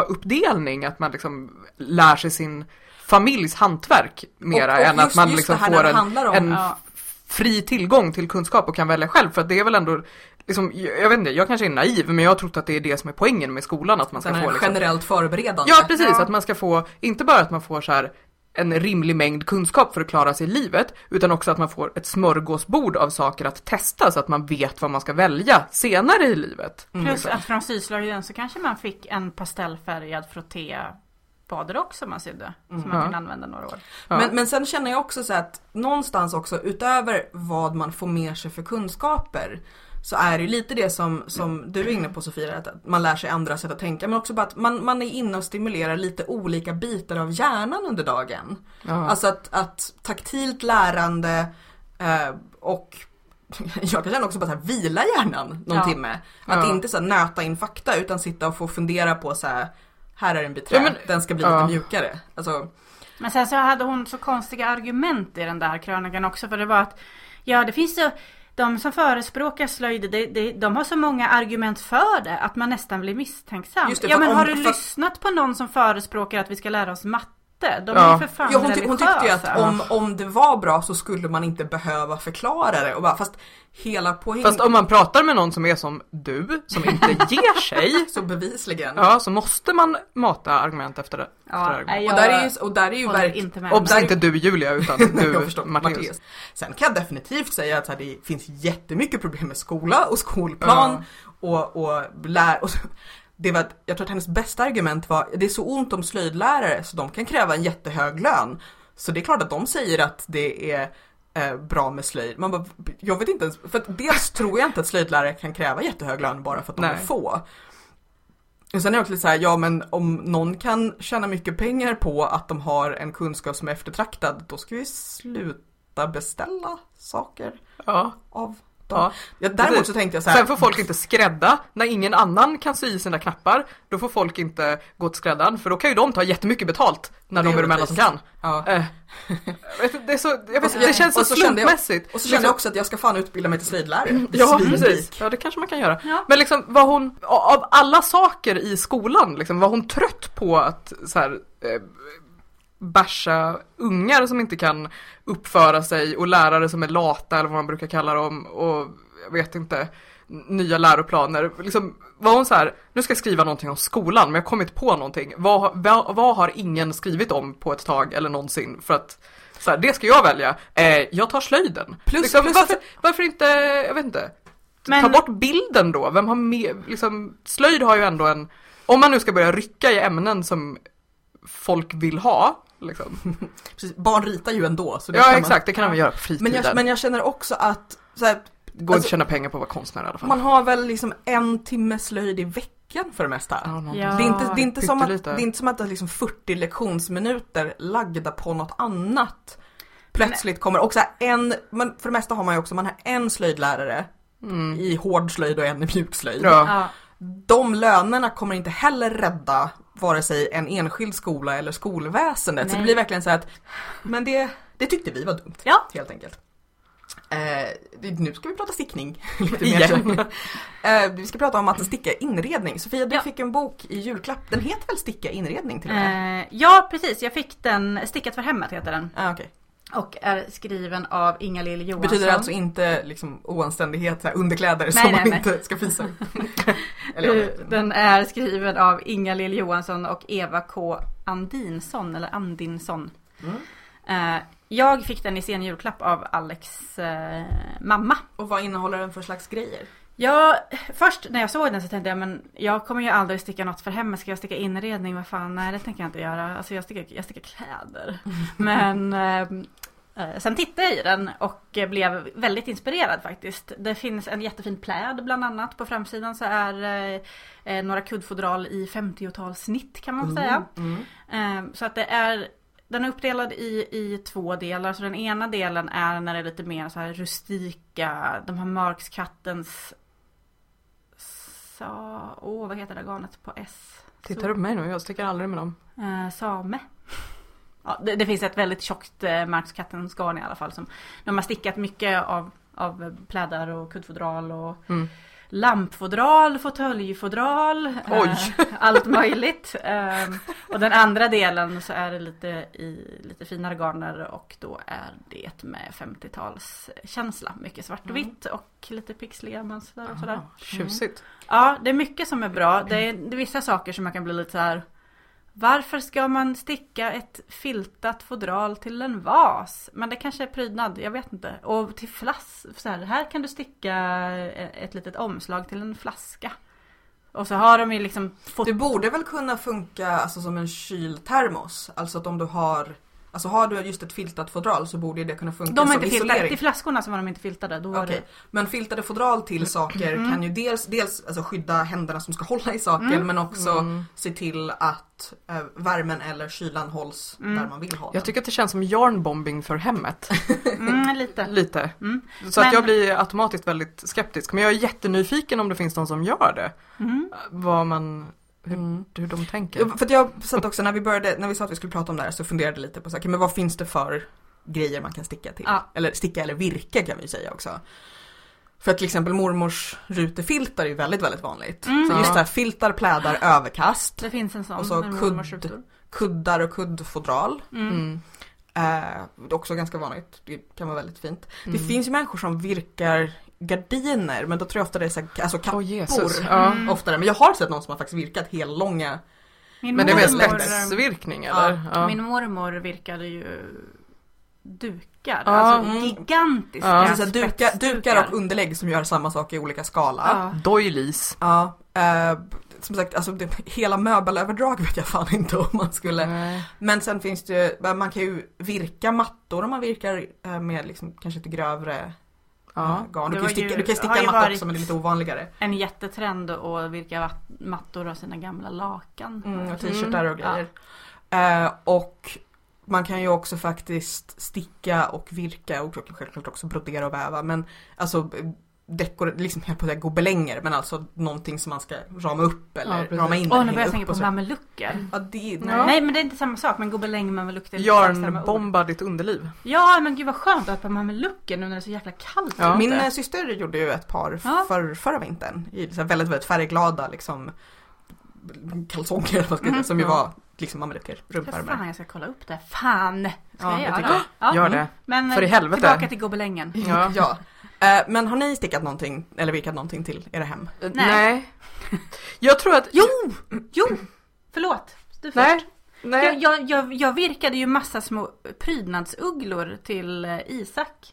S2: skråuppdelning att man liksom lär sig sin familjs hantverk mera
S1: och
S2: än
S1: just-
S2: att man
S1: just
S2: liksom
S1: det här när
S2: får
S1: det
S2: en,
S1: handlar om-
S2: en
S3: Ja.
S2: fri tillgång till kunskap och kan välja själv för att det är väl ändå Liksom, jag jag vet inte, jag kanske är naiv men jag har trott att det är det som är poängen med skolan att man ska
S1: Sen är
S2: få
S1: det
S2: liksom,
S1: generellt förberedande.
S2: Ja precis,
S3: Ja.
S2: att man ska få, inte bara att man får så här en rimlig mängd kunskap för att klara sig i livet, utan också att man får ett smörgåsbord av saker att testa så att man vet vad man ska välja senare i livet.
S1: Mm.
S3: Plus att från syslöjden så kanske man fick en pastellfärgad frotté badrock som man sydde. Som
S1: Mm.
S3: man
S2: Ja.
S3: kunde använda några år.
S2: Ja.
S1: Men, men sen känner jag också så här att någonstans också utöver vad man får med sig för kunskaper så är det ju lite det som, som du är inne på Sofia, att att man lär sig andra sätt att tänka men också bara att man, man är inne och stimulerar lite olika bitar av hjärnan under dagen.
S2: ja.
S1: Alltså att, att taktilt lärande eh, och [LAUGHS] jag kan känna också bara så här, vila hjärnan någon
S3: Ja.
S1: timme. Att
S2: Ja.
S1: inte så här, nöta in fakta utan sitta och få fundera på så här, här är en bit trä,
S2: Ja, men-
S1: den ska bli
S2: Ja.
S1: lite mjukare. Alltså,
S3: Men sen så hade hon så konstiga argument i den där krönikan också för det var att Ja det finns så De som förespråkar slöjd det, det, de har så många argument för det att man nästan blir misstänksam.
S1: Just det,
S3: ja
S1: för
S3: men
S1: om-
S3: har du
S1: för-
S3: lyssnat på någon som förespråkar att vi ska lära oss matte? De är
S2: Ja.
S3: ju för fan
S1: Ja, hon, ty- hon tyckte ju att
S3: religiösa.
S1: om, om det var bra så skulle man inte behöva förklara det. Och bara, fast hela poängen,
S2: Fast om man pratar med någon som är som du, som inte
S1: [LAUGHS]
S2: ger sig,
S1: så bevisligen.
S2: ja, så måste man mata argument efter det. efter
S3: Ja,
S2: argument.
S3: nej,
S1: Och
S3: jag
S1: där är ju, och där är ju
S3: håller
S1: verkligen...
S3: inte med.
S2: Obs,
S1: där- [LAUGHS]
S2: inte du Julia, utan
S1: Jag
S2: du
S1: förstår,
S2: Mattias.
S1: Mattias. Sen kan jag definitivt säga att så här, det finns jättemycket problem med skola och skolplan och, och lär... Och så, det var, att- jag tror att hennes bästa argument var det är så ont om slöjdlärare så de kan kräva en jättehög lön. Så det är klart att de säger att det är eh, bra med slöjd. Man bara, jag vet inte ens, för att dels tror jag inte att slöjdlärare kan kräva jättehög lön bara för att de är
S2: Nej.
S1: få. Och sen är det också lite så här, ja men om någon kan tjäna mycket pengar på att de har en kunskap som är eftertraktad, då ska vi sluta beställa saker
S2: Ja,
S1: av dem. Ja.
S2: ja.
S1: däremot
S2: precis.
S1: så tänkte jag så här,
S2: Sen får folk inte skrädda. När ingen annan kan sy i sina knappar, då får folk inte gå till skräddaren. För då kan ju de ta jättemycket betalt när
S1: Det
S2: de
S1: är
S2: är de enda som
S1: orättvist.
S2: kan.
S1: ja.
S2: Eh, jag vet- det, är så, jag vet,
S1: så-
S2: det känns så,
S1: och så kände jag-
S2: slumpmässigt.
S1: Och så kände jag också att jag ska fan utbilda mig till slöjdlärare. Det är
S2: Ja,
S1: svinrik.
S2: precis. Ja, det kanske man kan göra.
S3: Ja.
S2: Men liksom, var hon, av alla saker i skolan, liksom, var hon trött på att så här, eh, bärsa ungar som inte kan uppföra sig och lärare som är lata eller vad man brukar kalla dem och jag vet inte, n- nya läroplaner. Liksom, var hon så här, nu ska jag skriva någonting om skolan men jag kommer inte på någonting. Vad, har- vad, vad har ingen skrivit om på ett tag eller någonsin? För att så här, det ska jag välja. Eh, jag tar slöjden.
S1: Plus-
S2: liksom,
S1: plus
S2: varför, varför inte, jag vet inte.
S3: Men-
S2: Ta bort bilden då. Vem har med, liksom, slöjd har ju ändå en, om man nu ska börja rycka i ämnen som folk vill ha. Liksom.
S1: Precis. Barn ritar ju ändå. Så det kan
S2: Ja
S1: man-
S2: exakt, det kan man göra på
S1: Men
S2: fritiden.
S1: jag, men jag känner också att så här,
S2: Går
S1: alltså-
S2: att tjäna pengar på att vara konstnär i alla fall.
S1: man har väl liksom en timme slöjd i veckan för det mesta.
S2: Ja, någonting
S3: Ja.
S2: sånt.
S1: Det är, inte, det, är inte som att, det
S2: pyttelite.
S1: är inte som att det är liksom 40 lektionsminuter lagda på något annat plötsligt kommer. Och så här en, men för det mesta har man ju också, man har en slöjdlärare
S2: Mm.
S1: i hård slöjd och en i mjuk slöjd.
S2: Ja.
S3: Ja.
S1: De lönerna kommer inte heller rädda vare sig en enskild skola eller skolväsendet. Så det
S3: Nej.
S1: blir verkligen så här att, men det, det tyckte vi var dumt.
S3: Ja.
S1: Helt enkelt. Eh, det- nu ska vi prata stickning. [LAUGHS] Lite
S2: Igen.
S1: mer. eh, vi ska prata om att sticka inredning. Sofia, du
S3: Ja.
S1: fick en bok i julklapp. Den heter väl Sticka inredning till och med?
S3: Eh, ja precis, jag fick den, Stickat för hemmet heter den.
S1: Ah, okej.
S3: Och är skriven av Inga-Lill Johansson.
S1: Betyder alltså inte liksom oanständighet, så här, underkläder
S3: Nej,
S1: som
S3: nej,
S1: man
S3: nej.
S1: inte ska
S3: [LAUGHS]
S1: fisa?
S3: Eh, Den är skriven av Inga-Lill Johansson och Eva K Andinsson, eller Andinsson.
S1: Mm.
S3: Eh, Jag fick den i sen julklapp av Alex eh, mamma.
S1: Och vad innehåller den för slags grejer?
S3: Jag, först när jag såg den så tänkte jag men jag kommer ju aldrig sticka något för hemmet. Ska jag sticka inredning? Vad fan, nej det tänker jag inte göra. Alltså jag stickar, jag stickar kläder. Men eh, eh, sen tittade jag i den och eh, blev väldigt inspirerad faktiskt. Det finns en jättefin pläd bland annat. På framsidan så är eh, eh, några kuddfodral i 50-talssnitt kan man säga.
S1: Mm.
S3: Ehm, Så att det är den är uppdelad i, i två delar. Så den ena delen är när det är lite mer så här rustika, de här Markskattens... Sa... Åh, vad heter det där garnet på S?
S2: Tittar du på mig nu? Jag sticker aldrig med dem.
S3: Eh, same. Ja, det, det finns ett väldigt tjockt eh, Markskattens garn i alla fall. Som, de har stickat mycket av, av plädar och kuddfodral och
S2: Mm.
S3: lampfodral, fåtöljfodral, eh,
S2: Oj.
S3: [LAUGHS] allt möjligt. Eh, och den andra delen så är det lite i lite finare garner och då är det med 50-talskänsla. Mycket svartvitt och lite pixliga mönster och sådär.
S2: Tjusigt.
S3: Ja, det är mycket som är bra. Det är, det är vissa saker som jag kan bli lite så här. Varför ska man sticka ett filtat fodral till en vas? Men det kanske är prydnad, jag vet inte. Och till flass, så här, här kan du sticka ett litet omslag till en flaska. Och så har de ju liksom fot-
S1: Det borde väl kunna funka alltså, som en kyltermos. Alltså att om du har, alltså har du just ett filtat fodral så borde det kunna funka
S3: De
S1: som
S3: är inte filtade,
S1: isolering.
S3: till flaskorna så var de inte filtade. Då var
S1: Okej.
S3: det...
S1: Men filtade fodral
S3: Mm.
S1: till saker kan ju dels, dels alltså, skydda händerna som ska hålla i saken
S3: Mm.
S1: men också
S2: Mm.
S1: se till att eh, värmen eller kylan hålls där man vill ha den.
S2: Jag tycker att det känns som yarnbombing för hemmet.
S1: [LAUGHS]
S3: Mm, lite.
S2: Lite.
S3: Mm.
S2: Så att
S3: Men-
S2: jag blir automatiskt väldigt skeptisk. Men jag är jättenyfiken om det finns någon som gör det.
S3: Mm.
S2: Vad man, hur,
S1: Mm.
S2: hur de tänker.
S1: Ja, För att jag satt också när vi började, när vi sa att vi skulle prata om det här så funderade jag lite på saker, men vad finns det för grejer man kan sticka till?
S3: Ja.
S1: Eller sticka eller virka kan vi ju säga också. För att till exempel mormors rutefiltar är ju väldigt, väldigt vanligt.
S3: Mm.
S1: Så just det här filtar, plädar, överkast,
S3: Det finns en sån.
S1: Och så
S3: en
S1: kudd-
S3: mormors rutor.
S1: kuddar och kuddfodral.
S3: Mm.
S2: Mm.
S1: Eh, det är också ganska vanligt, det kan vara väldigt fint. Det
S2: Mm.
S1: finns ju människor som virkar gardiner, men då tror jag ofta det är så här, alltså kappor.
S2: Åh Jesus. Ja.
S3: Mm.
S1: Oftare, men jag har sett någon som har faktiskt virkat hellånga långa
S3: Min
S2: Men det är mer
S1: Mormor.
S2: spetsvirkning eller? Ja.
S3: Min mormor virkade ju dukar.
S2: Ja.
S3: Alltså
S1: Mm.
S3: gigantiska
S2: Ja.
S1: Alltså, så här, duka, dukar och underlägg som gör samma sak i olika skala.
S3: Ja.
S2: Doilies.
S1: Ja, eh, som sagt, alltså, det, hela möbelöverdrag vet jag fan inte om man skulle.
S2: Nej.
S1: Men sen finns det ju, eh, man kan ju virka mattor om man virkar eh, med liksom, kanske lite grövre eh,
S2: Ja.
S1: garn. Du
S3: det
S1: kan ju
S3: var ju-
S1: sticka, du kan ju
S3: har
S1: sticka en
S3: ju
S1: matta
S3: varit-
S1: också men det är lite ovanligare.
S3: En jättetrend och virka vat- mattor av sina gamla lakan.
S1: Mm, och
S2: typ.
S1: t-shirtar och
S3: Mm,
S1: grejer. Eh, och man kan ju också faktiskt sticka och virka och självklart också brodera och väva. Men alltså dekor, liksom jag höll på att säga gobelänger men alltså någonting som man ska rama upp
S2: Ja,
S1: eller
S2: precis.
S1: rama in.
S3: Åh,
S1: eller
S3: nu börjar
S1: hänga
S3: jag tänka
S1: upp
S3: på
S1: och så.
S3: mamelucker.
S1: Ja, det,
S2: Ja.
S3: Nej men det är inte samma sak men gobeläng mameluck det är lite extra med ord.
S2: Yarnbomba ditt underliv.
S3: Ja men gud vad skönt att ha mamelucker nu när det är så jäkla kallt.
S2: Ja.
S3: ute.
S1: Min eh, syster gjorde ju ett par
S3: Ja.
S1: för, förra vintern i så här väldigt, väldigt färgglada liksom kalsonger eller vad ska jag säga,
S3: Mhm.
S1: som ju
S2: Ja.
S1: var liksom mamelucker,
S3: För
S1: rumpärmar.
S3: fan jag ska kolla upp det. Fan! Ska
S1: Ja,
S3: jag
S1: jag
S3: göra?
S1: tycker det.
S3: Ja.
S2: Gör
S1: Mm.
S2: det.
S3: Men
S2: För i helvete.
S3: tillbaka till gobelängen.
S2: Ja.
S1: [LAUGHS] Ja. Eh, Men har ni stickat någonting eller virkat någonting till era hem?
S2: Nej.
S3: Nej.
S2: Jag tror att...
S3: Jo! Jo! Förlåt! Du först.
S2: Nej.
S3: Jag,
S1: Eh.
S2: Nej.
S3: jag, jag, jag virkade ju massa små prydnadsugglor till eh, Isak.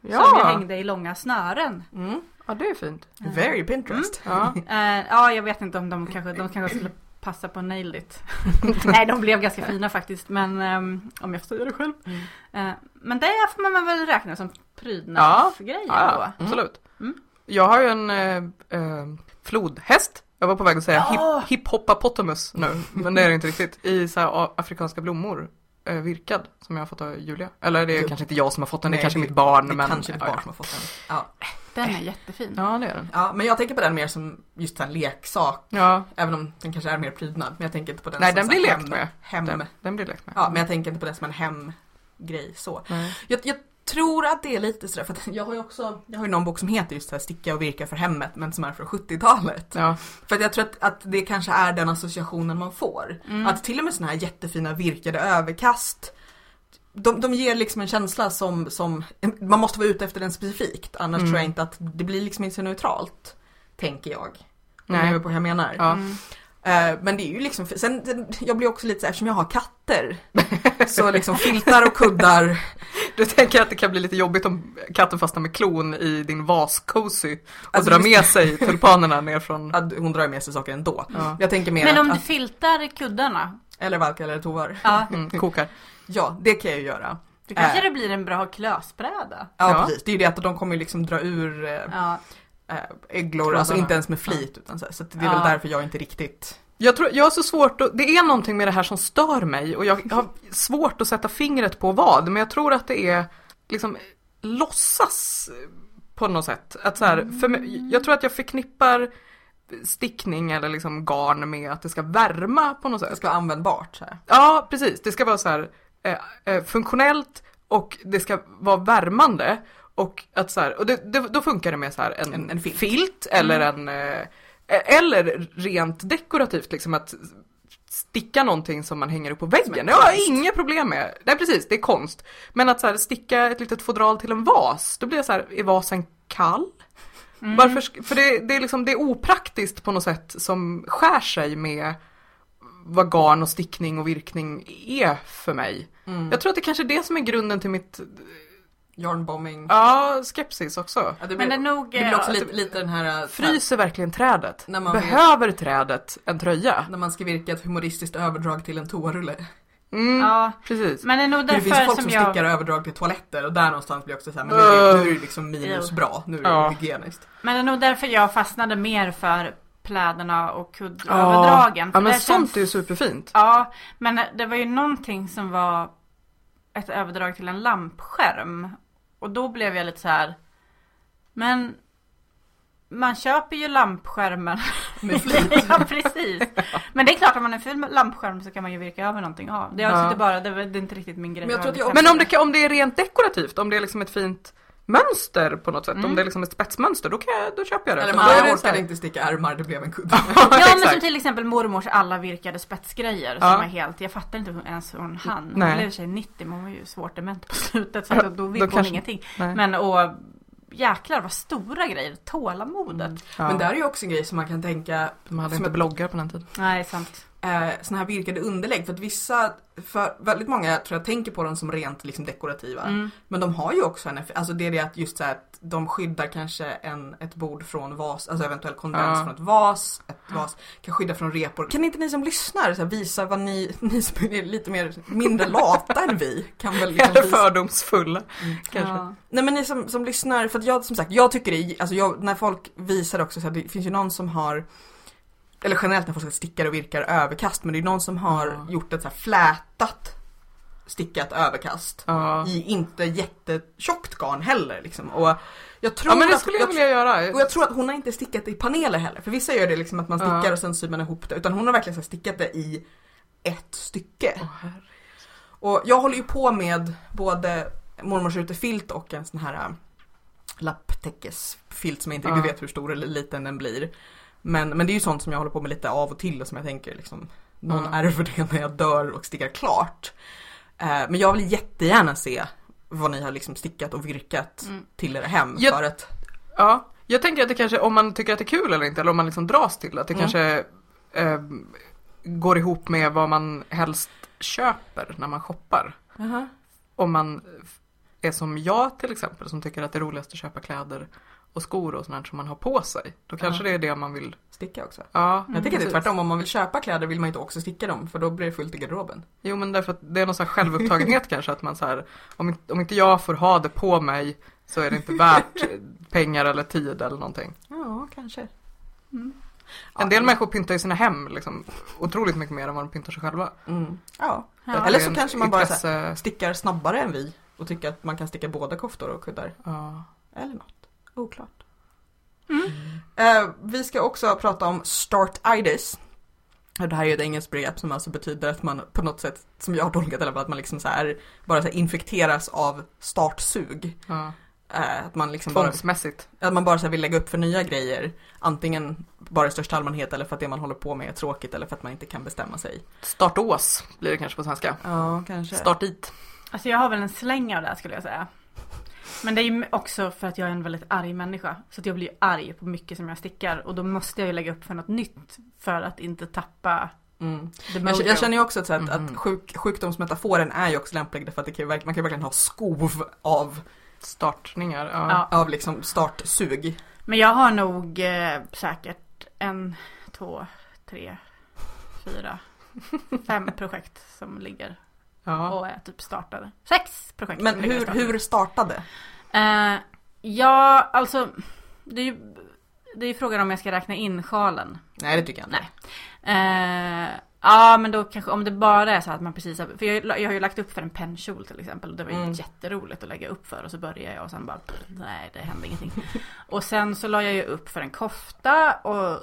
S3: Som jag
S2: Ja.
S3: hängde i långa snören.
S1: Mm.
S2: ja, det är fint.
S1: Very Pinterest.
S2: Mm.
S1: [LAUGHS]
S2: Ja.
S3: [LAUGHS] Eh, ja, jag vet inte om de kanske, de kanske skulle passa på nail it. [LAUGHS] Nej, de blev ganska fina faktiskt. Men ehm, om jag får säga det själv.
S1: Mm.
S3: Eh, men det får man väl räkna som prydnadsgrej
S2: Ja,
S3: ändå.
S2: absolut.
S3: Mm.
S2: Jag har ju en eh, eh, flodhäst. Jag var på väg att säga
S3: Ja.
S2: hip, hiphoppapotamus nu, men det är det inte riktigt. I så här a- afrikanska blommor, eh, virkad, som jag har fått av Julia. Eller det är
S1: Du-
S2: kanske inte jag som har fått den, det
S1: Nej,
S2: är kanske
S1: det-
S2: mitt barn.
S1: Det
S2: men,
S1: kanske är ditt
S2: ja,
S1: barn som har fått den. Ja.
S3: Den är jättefin.
S2: Ja, Ja, det är den.
S1: ja, men jag tänker på den mer som just en leksak,
S2: Ja,
S1: även om den kanske är mer prydnad. Men jag tänker inte på den
S2: Nej,
S1: som
S2: den
S1: så
S2: blir
S1: här
S2: lekt
S1: hem-
S2: med.
S1: Hem.
S2: den, den blir lekt med. Mm.
S1: Ja, men jag tänker inte på det som en hemgrej så.
S2: Nej.
S1: Jag, jag tror att det är lite sådär, för att jag har ju också, jag har ju någon bok som heter just så här Sticka och virka för hemmet, men som är från 70-talet.
S2: Ja.
S1: För att jag tror att, att det kanske är den associationen man får.
S3: Mm.
S1: Att till och med sådana här jättefina virkade överkast, de, de ger liksom en känsla som, som, man måste vara ute efter den specifikt, annars
S2: Mm.
S1: tror jag inte att det blir liksom inte så neutralt, tänker jag. Om
S2: Nej.
S1: ni är på vad jag menar.
S2: Ja.
S3: Mm.
S1: Eh, Men det är ju liksom, sen, sen, jag blir också lite så här, eftersom jag har katter, så liksom filtar och
S2: [LAUGHS]
S1: kuddar
S2: Du tänker att det kan bli lite jobbigt om katten fastnar med klon i din vas-cozy och
S1: Alltså,
S2: drar
S1: just-
S2: med sig tulpanerna
S1: [LAUGHS]
S2: ner från...
S1: att hon drar med sig saker ändå.
S2: Ja.
S1: Jag tänker mer
S3: Men om du
S1: att, att
S3: filtar kuddarna.
S1: eller valkar eller tovar.
S3: Ja,
S2: Mm, kokar.
S1: Ja, det kan jag ju göra.
S3: då kanske
S1: Äh.
S3: det blir en bra klösbräda.
S1: Ja,
S2: Ja.
S1: precis, det är ju det att de kommer ju liksom dra ur eh,
S3: Ja.
S1: eh, ägglor, alltså
S2: Trådarna.
S1: inte ens med flit. Utan så, här, så att det är
S3: Ja.
S1: väl därför jag inte riktigt...
S2: Jag, tror, jag har så svårt att, det är någonting med det här som stör mig och jag har svårt att sätta fingret på vad, men jag tror att det är liksom låtsas på något sätt. Att så här, för mig, jag tror att jag förknippar stickning eller liksom garn med att det ska värma på något
S1: Det
S2: sätt.
S1: ska vara användbart. Så här.
S2: Ja, precis. Det ska vara så här eh, eh, funktionellt och det ska vara värmande. Och, att så här, och det, det, då funkar det med så här en,
S1: En-
S2: en,
S1: en
S2: filt,
S1: filt. Mm.
S2: eller en... Eh, eller rent dekorativt, liksom att sticka någonting som man hänger upp på väggen. Det har jag
S1: konst.
S2: inga problem med. Nej precis, det är konst. Men att så här, sticka ett litet fodral till en vas, då blir jag så här, är vasen kall?
S1: Mm.
S2: Varför, sk- för det, det, är liksom, det är opraktiskt på något sätt som skär sig med vad garn och stickning och virkning är för mig.
S3: Mm.
S2: Jag tror att det kanske är det som är grunden till mitt
S1: Yarnbombing.
S2: ja, skepsis också.
S1: Ja, det
S3: Men
S1: blir,
S3: det är
S1: det
S3: nog...
S1: blir också
S3: eh,
S1: lite, lite den här... eh,
S2: Fryser verkligen trädet?
S1: När man
S2: Behöver trädet en tröja?
S1: När man ska virka ett humoristiskt överdrag till en toarulle.
S2: Mm,
S3: Ja.
S2: Precis.
S3: Men det är nog
S1: Det
S3: därför
S1: finns folk
S3: som
S1: som
S3: jag... Äh.
S1: stickar överdrag till toaletter och där någonstans blir jag också såhär, men nu är det- nu är det liksom minus
S3: Ew.
S1: bra, nu är det
S2: Ja.
S1: hygieniskt.
S3: Men det är nog därför jag fastnade mer för pläderna och kuddöverdragen.
S2: Ja,
S3: För
S2: ja men
S3: det
S2: sånt
S3: känns-
S2: är ju superfint.
S3: Ja, men det var ju någonting som var ett överdrag till en lampskärm. Och då blev jag lite så här. Men man köper ju lampskärmen.
S1: Med flit.
S3: [LAUGHS] ja, precis. Men det är klart, om man har en ful lampskärm så kan man ju virka över någonting av. Det är
S2: Ja.
S3: alltså inte bara, det var- det är inte riktigt min grej.
S1: Men jag tror att jag-
S2: Men om det, kan- om det är rent dekorativt, om det är liksom ett fint mönster på något sätt,
S3: Mm.
S2: om det är liksom ett spetsmönster, då, kan jag, då köper jag det.
S1: Eller
S2: För då
S1: man
S2: är det så här-
S1: orkade inte sticka ärmar, det blev en kudde.
S3: [LAUGHS] Ja men
S2: Exakt.
S3: som till exempel mormors alla virkade spetsgrejer
S2: Ja.
S3: som var helt, jag fattar inte hur ens hur hon hann. Hon
S2: Nej.
S3: blev i och för sig 90 men hon var ju svårt dement på slutet så att då- då ville hon
S2: kanske-
S3: ingenting.
S2: Nej.
S3: Men och jäklar vad stora grejer, tålamodet.
S2: ja.
S1: Men det här är ju också en grej som man kan tänka
S2: De hade
S1: Som
S2: inte
S1: ett-
S2: bloggar på den tiden.
S3: Nej sant.
S1: eh, såna här virkade underlägg. För att vissa, för väldigt många tror jag tänker på dem som rent liksom dekorativa.
S3: Mm.
S1: Men de har ju också en effekt, alltså det är det att just så här att de skyddar kanske en, ett bord från vas, alltså eventuell kondens
S2: Ja.
S1: från ett vas, ett vas kan skydda från repor. Kan inte ni som lyssnar så här, visa vad ni, [LAUGHS] ni som är lite mer, mindre lata än vi kan
S2: [LAUGHS]
S1: väl liksom
S2: Eller
S1: visa- Mm.
S2: fördomsfulla kanske.
S3: Ja.
S1: Nej men ni som, som lyssnar, för att jag som sagt, jag tycker det är, alltså jag, när folk visar också så här, det finns ju någon som har eller generellt när folk stickar och virkar överkast men det är någon som har
S2: Ja.
S1: gjort ett så här flätat stickat överkast
S2: Ja.
S1: i inte jättetjockt garn heller liksom. och jag tror
S2: ja men det
S1: att,
S2: skulle jag
S1: jag,
S2: vilja
S1: och
S2: göra.
S1: jag tror att hon har inte stickat det i paneler heller för vissa gör det liksom att man
S2: Ja.
S1: stickar och sen syr man ihop det utan hon har verkligen så här stickat det i ett stycke.
S2: Åh, herre.
S1: Och jag håller ju på med både mormors utefilt och en sån här äh, lapptäckesfilt som jag inte riktigt
S2: Ja.
S1: vet hur stor eller liten den blir. Men, men det är ju sånt som jag håller på med lite av och till och som jag tänker liksom, någon
S2: Ja.
S1: ärver det när jag dör och stickar klart. Eh, men jag vill jättegärna se vad ni har liksom stickat och virkat
S3: Mm.
S1: till er hem
S2: Jag-
S1: för att
S2: Ja, jag tänker att det kanske, om man tycker att det är kul eller inte, eller om man liksom dras till att det
S1: Mm.
S2: kanske eh, går ihop med vad man helst köper när man shoppar. Om man är som jag till exempel, som tycker att det är roligast att köpa kläder och skor och sånt som man har på sig. Då kanske
S1: Ja. Mm,
S2: det är det man vill.
S1: sticka också.
S2: Ja,
S1: Jag tycker det är
S2: precis.
S1: tvärtom, om man vill köpa kläder vill man inte också sticka dem för då blir det fullt i garderoben.
S2: Jo men därför att det är någon sån här självupptagenhet [LAUGHS] kanske att man så här, om, inte- om inte jag får ha det på mig så är det
S1: [LAUGHS]
S2: inte värt pengar eller tid eller någonting.
S1: Ja, kanske.
S3: Mm.
S2: En del människor pyntar ju sina hem liksom, otroligt mycket mer än vad de pyntar sig själva.
S1: Mm. Ja,
S3: Ja.
S1: Eller så kanske man bara
S2: så här...
S1: stickar snabbare än vi och tycker att man kan sticka båda koftor och kuddar.
S2: Ja.
S1: Eller något. Oklart.
S3: Mm.
S1: Eh, vi ska också prata om startitis. Och Det här är ju ett engelskt begrepp som alltså betyder att man på något sätt, som jag har tolkat i alla fall, att man liksom så här, bara så här infekteras av startsug.
S2: Ja.
S1: Eh, att man liksom bara,
S2: Tvångsmässigt.
S1: att man bara så här vill lägga upp för nya grejer. Antingen bara i största allmänhet eller för att det man håller på med är tråkigt eller för att man inte kan bestämma sig.
S2: Startås blir det kanske på svenska.
S1: Ja, kanske.
S2: Start dit.
S3: Alltså jag har väl en släng av det här skulle jag säga. Men det är ju också för att jag är en väldigt arg människa. Så att jag blir ju arg på mycket som jag stickar. Och då måste jag ju lägga upp för något nytt. För att inte tappa
S1: Mm.
S3: the
S1: Jag,
S3: mojo.
S1: jag känner ju också att, så att,
S2: Mhm.
S1: att sjuk, sjukdomsmetaforen är ju också lämplig därför att det kan ju, verk- man kan ju verkligen ha skov av,
S2: Startningar. Ja.
S3: Ja.
S1: av liksom startsug.
S3: Men jag har nog eh, säkert en, två, tre,
S1: [LAUGHS]
S3: fyra, fem projekt som ligger
S2: Ja.
S3: och är typ startade. Sex projekt.
S1: Men
S3: som ligger
S1: hur,
S3: startade.
S1: hur startade?
S3: Eh, ja, alltså. Det är ju det är ju frågan om jag ska räkna in sjalen.
S1: Nej det tycker jag inte.
S3: Nej. Eh, ja men då kanske om det bara är så att man precis har, för jag, jag har ju lagt upp för en pennkjol till exempel och det var ju
S1: Mm.
S3: jätteroligt att lägga upp för och så började jag och sen bara pff, nej det hände ingenting. [LAUGHS] och sen så la jag ju upp för en kofta och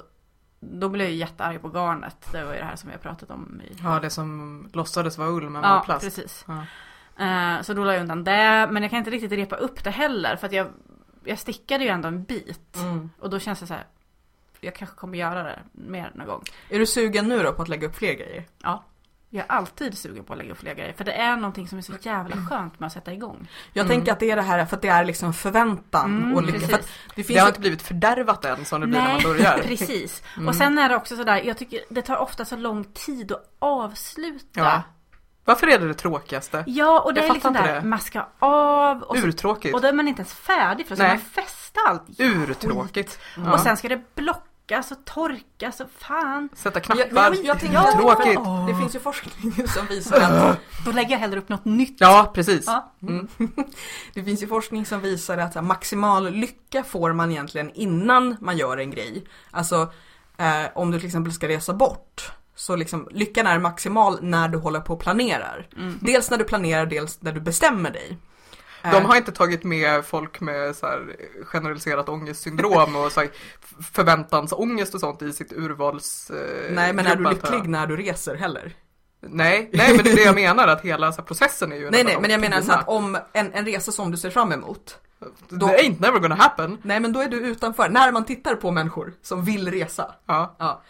S3: då blev jag ju jättearg på garnet. Det var ju det här som vi har pratat om i
S2: ja, det som låtsades vara ull men var
S3: Ja,
S2: plast.
S3: precis.
S2: Ja.
S3: Eh, så då la jag undan det men jag kan inte riktigt repa upp det heller för att jag, jag stickade ju ändå en bit
S1: Mm.
S3: och då känns det så här jag kanske kommer göra det mer någon gång.
S1: Är du sugen nu då på att lägga upp fler grejer?
S3: Jag är alltid sugen på att lägga upp fler grejer. För det är någonting som är så jävla skönt med att sätta igång.
S1: Jag
S2: Mm.
S1: tänker att det är det här för att det är liksom förväntan
S3: Mm,
S1: och lycka.
S3: precis.
S1: För att det
S2: Det
S1: finns
S2: har
S1: ju,
S2: inte blivit fördärvat än som det blir när man
S3: Nej,
S2: börjar.
S3: [LAUGHS] precis.
S2: Mm.
S3: Och sen är det också sådär, jag tycker det tar ofta så lång tid att avsluta.
S2: Ja.
S3: Ja,
S2: Varför är det det tråkigaste?
S3: och det
S2: Jag
S3: är
S2: fattar
S3: liksom
S2: inte
S3: där,
S2: det.
S3: man ska av och, så,
S2: Urtråkigt.
S3: och då är man inte ens färdig för så
S2: Nej.
S3: man fästa allt.
S2: Urtråkigt. Ja.
S3: Och sen ska det blockas och torkas och fan.
S2: Sätta
S1: Men
S2: knappar.
S1: jag, men jag, jag tänker
S3: Ja.
S2: Tråkigt.
S1: För, det finns ju forskning [LAUGHS] som visar att
S3: Då lägger jag hellre upp något nytt.
S2: Ja, precis.
S3: Ja.
S2: Mm.
S1: [LAUGHS] Det finns ju forskning som visar att så här, maximal lycka får man egentligen innan man gör en grej. Alltså eh, om du till exempel ska resa bort. Så liksom, lyckan är maximal när du håller på och planerar.
S3: Mm.
S1: Dels när du planerar, dels när du bestämmer dig. Eh,
S2: De har inte tagit med folk med så här generaliserat ångestsyndrom och så här f- förväntansångest och sånt i sitt urvals... eh,
S1: Nej men är du
S2: grupp, antar jag.
S1: lycklig när du reser heller?
S2: Nej, nej men det är det jag menar att hela så här, processen är ju en
S1: Nej
S2: enda
S1: nej
S2: lång
S1: men jag menar så
S2: pina.
S1: att om en, en resa som du ser fram emot. då-
S2: Det ain't never gonna happen.
S1: Nej men då är du utanför. När man tittar på människor som vill resa.
S2: Ja.
S1: Ja.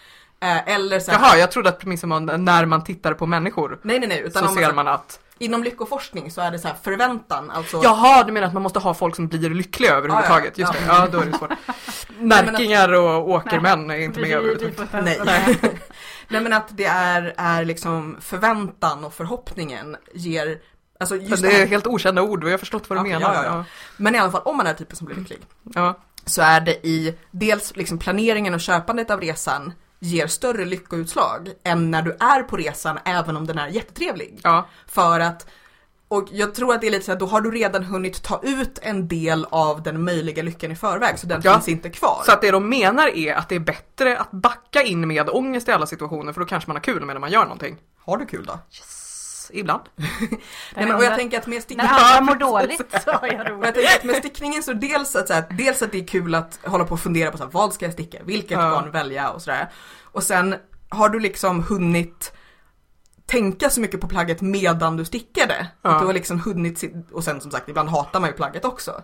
S1: Eh, eller så här,
S2: Jaha, jag trodde att premissen var när man tittar på människor
S1: Nej nej nej utan
S2: så
S1: om,
S2: ser man att...
S1: inom lyckoforskning så är det så här förväntan alltså.
S2: Jaha, du menar att man måste ha folk som blir lyckliga överhuvudtaget?
S1: Ja, ja,
S2: Just
S1: ja.
S2: det, ja
S1: [LAUGHS]
S2: då är det svårt. Närkingar och åkermän är inte med
S3: vi,
S2: [LAUGHS]
S3: vi
S2: överhuvudtaget.
S3: får ta
S1: Nej.
S3: Nej.
S1: [LAUGHS] Nej men att det är, är liksom förväntan och förhoppningen ger Alltså just det
S2: det är
S1: här,
S2: helt okända ord och jag har förstått vad du
S1: Okej,
S2: menar.
S1: ja, ja, men i alla fall om man är typen som blir lycklig
S2: Ja.
S1: så är det i dels liksom planeringen och köpandet av resan ger större lyckoutslag än när du är på resan även om den är jättetrevlig.
S2: Ja.
S1: För att, och jag tror att det är lite så här, då har du redan hunnit ta ut en del av den möjliga lyckan i förväg så den
S2: Ja.
S1: finns inte kvar.
S2: Så att det de menar är att det är bättre att backa in med ångest i alla situationer för då kanske man har kul medan man gör någonting.
S1: har du kul då?
S2: Ibland.
S1: Nej, men, och jag tänker att med stick-
S3: När andra mår
S2: [LAUGHS]
S3: dåligt så har jag
S1: Och jag
S3: roligt.
S1: tänker att med stickningen så dels att, så här, dels att det är kul att hålla på och fundera på så här, vad ska jag sticka, vilket
S2: Ja.
S1: garn välja och sådär. Och sen har du liksom hunnit tänka så mycket på plagget medan du stickade.
S2: Ja.
S1: Att du har liksom hunnit, sit- och sen som sagt ibland hatar man ju plagget också.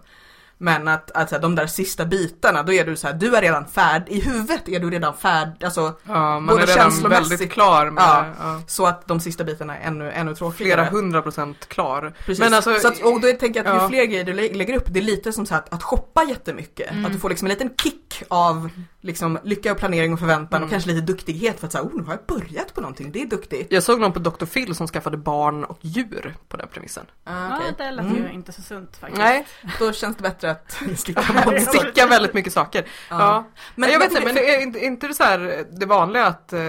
S1: Men att, att så här, de där sista bitarna, då är du så här, du är redan färdig, i huvudet är du redan färdig, alltså
S2: Ja, man
S1: Både
S2: är redan
S1: känslomässigt-
S2: väldigt klar med
S1: Ja.
S2: ja,
S1: så att de sista bitarna är ännu, ännu tråkigare.
S2: flera hundra procent klar.
S1: Precis.
S2: Men alltså,
S1: så att, och då tänker jag att ju
S2: ja.
S1: fler grejer du lä- lägger upp, det är lite som så här att, att shoppa jättemycket.
S2: Mm.
S1: Att du får liksom en liten kick av liksom, lycka och planering och förväntan
S2: Mm.
S1: och kanske lite duktighet för att säga oh, nu har jag börjat på någonting, det är duktigt.
S2: jag såg någon på Dr. Phil som skaffade barn och djur på den premissen.
S1: Ah,
S3: Ja,
S1: okej.
S3: det lät ju
S1: Mm.
S3: inte så sunt
S2: [LAUGHS]
S3: faktiskt.
S2: Nej,
S1: Då känns det bättre
S2: [LAUGHS]
S1: att sticka
S3: Det är
S1: på
S3: roligt.
S2: sticka väldigt mycket saker. Ja. Men jag vet inte, men det är inte, inte det så här det vanliga att eh,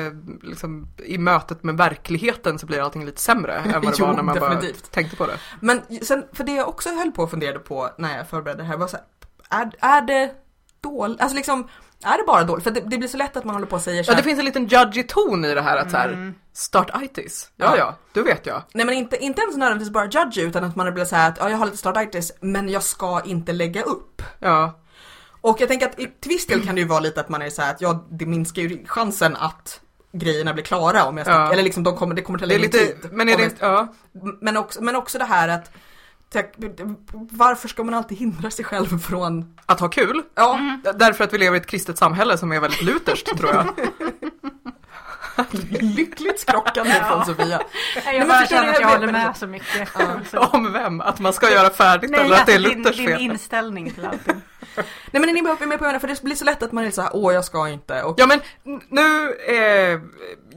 S2: liksom, i mötet med verkligheten så blir allting lite sämre än [LAUGHS] vad det
S1: Jo,
S2: var när man bara
S1: definitivt.
S2: tänkte på det.
S1: Men sen, för det jag också höll på och funderade på när jag förberedde det här var så här, är, är det dåligt, alltså liksom, är det bara dåligt? För det, det blir så lätt att man håller på och säger så
S2: Ja,
S1: här,
S2: det finns en liten judgy ton i det här att så här,
S3: Mm.
S2: startitis, ja ja, du vet jag.
S1: Nej men inte, inte ens nödvändigtvis bara judge utan att man blir så här att ja, jag har lite starditis men jag ska inte lägga upp.
S2: Ja,
S1: Och jag tänker att i- till viss del kan det ju vara lite att man är så här att ja det minskar ju chansen att grejerna blir klara om jag sticker,
S2: Ja.
S1: eller liksom de kommer, det kommer ta
S2: det är
S1: längre
S2: lite,
S1: tid.
S2: men är
S1: om
S2: det
S1: jag-
S2: inte, ja.
S1: men, också, men också det här att tack, varför ska man alltid hindra sig själv från,
S2: Att ha kul?
S1: ja
S2: D- Därför att vi lever i ett kristet samhälle som är
S1: [LAUGHS]
S2: väldigt lutherskt tror jag.
S1: lyckligt
S2: [LAUGHS]
S1: skrockande från Sofia. Nej,
S3: Jag
S1: men
S3: bara
S1: förstår
S3: känner
S1: du,
S3: att jag
S1: jag vet,
S3: håller
S1: men
S3: med så mycket.
S2: [LAUGHS]
S3: Så-
S2: Om vem? Att man ska göra färdigt
S3: Nej,
S2: eller att det är
S3: alltså din,
S2: Luthers
S3: din
S2: fel?
S3: inställning
S2: [LAUGHS]
S3: till allting.
S1: Nej men är ni med på vad jag menar? För det blir så lätt att man är så här åh jag ska inte och
S2: Ja men n- nu, eh,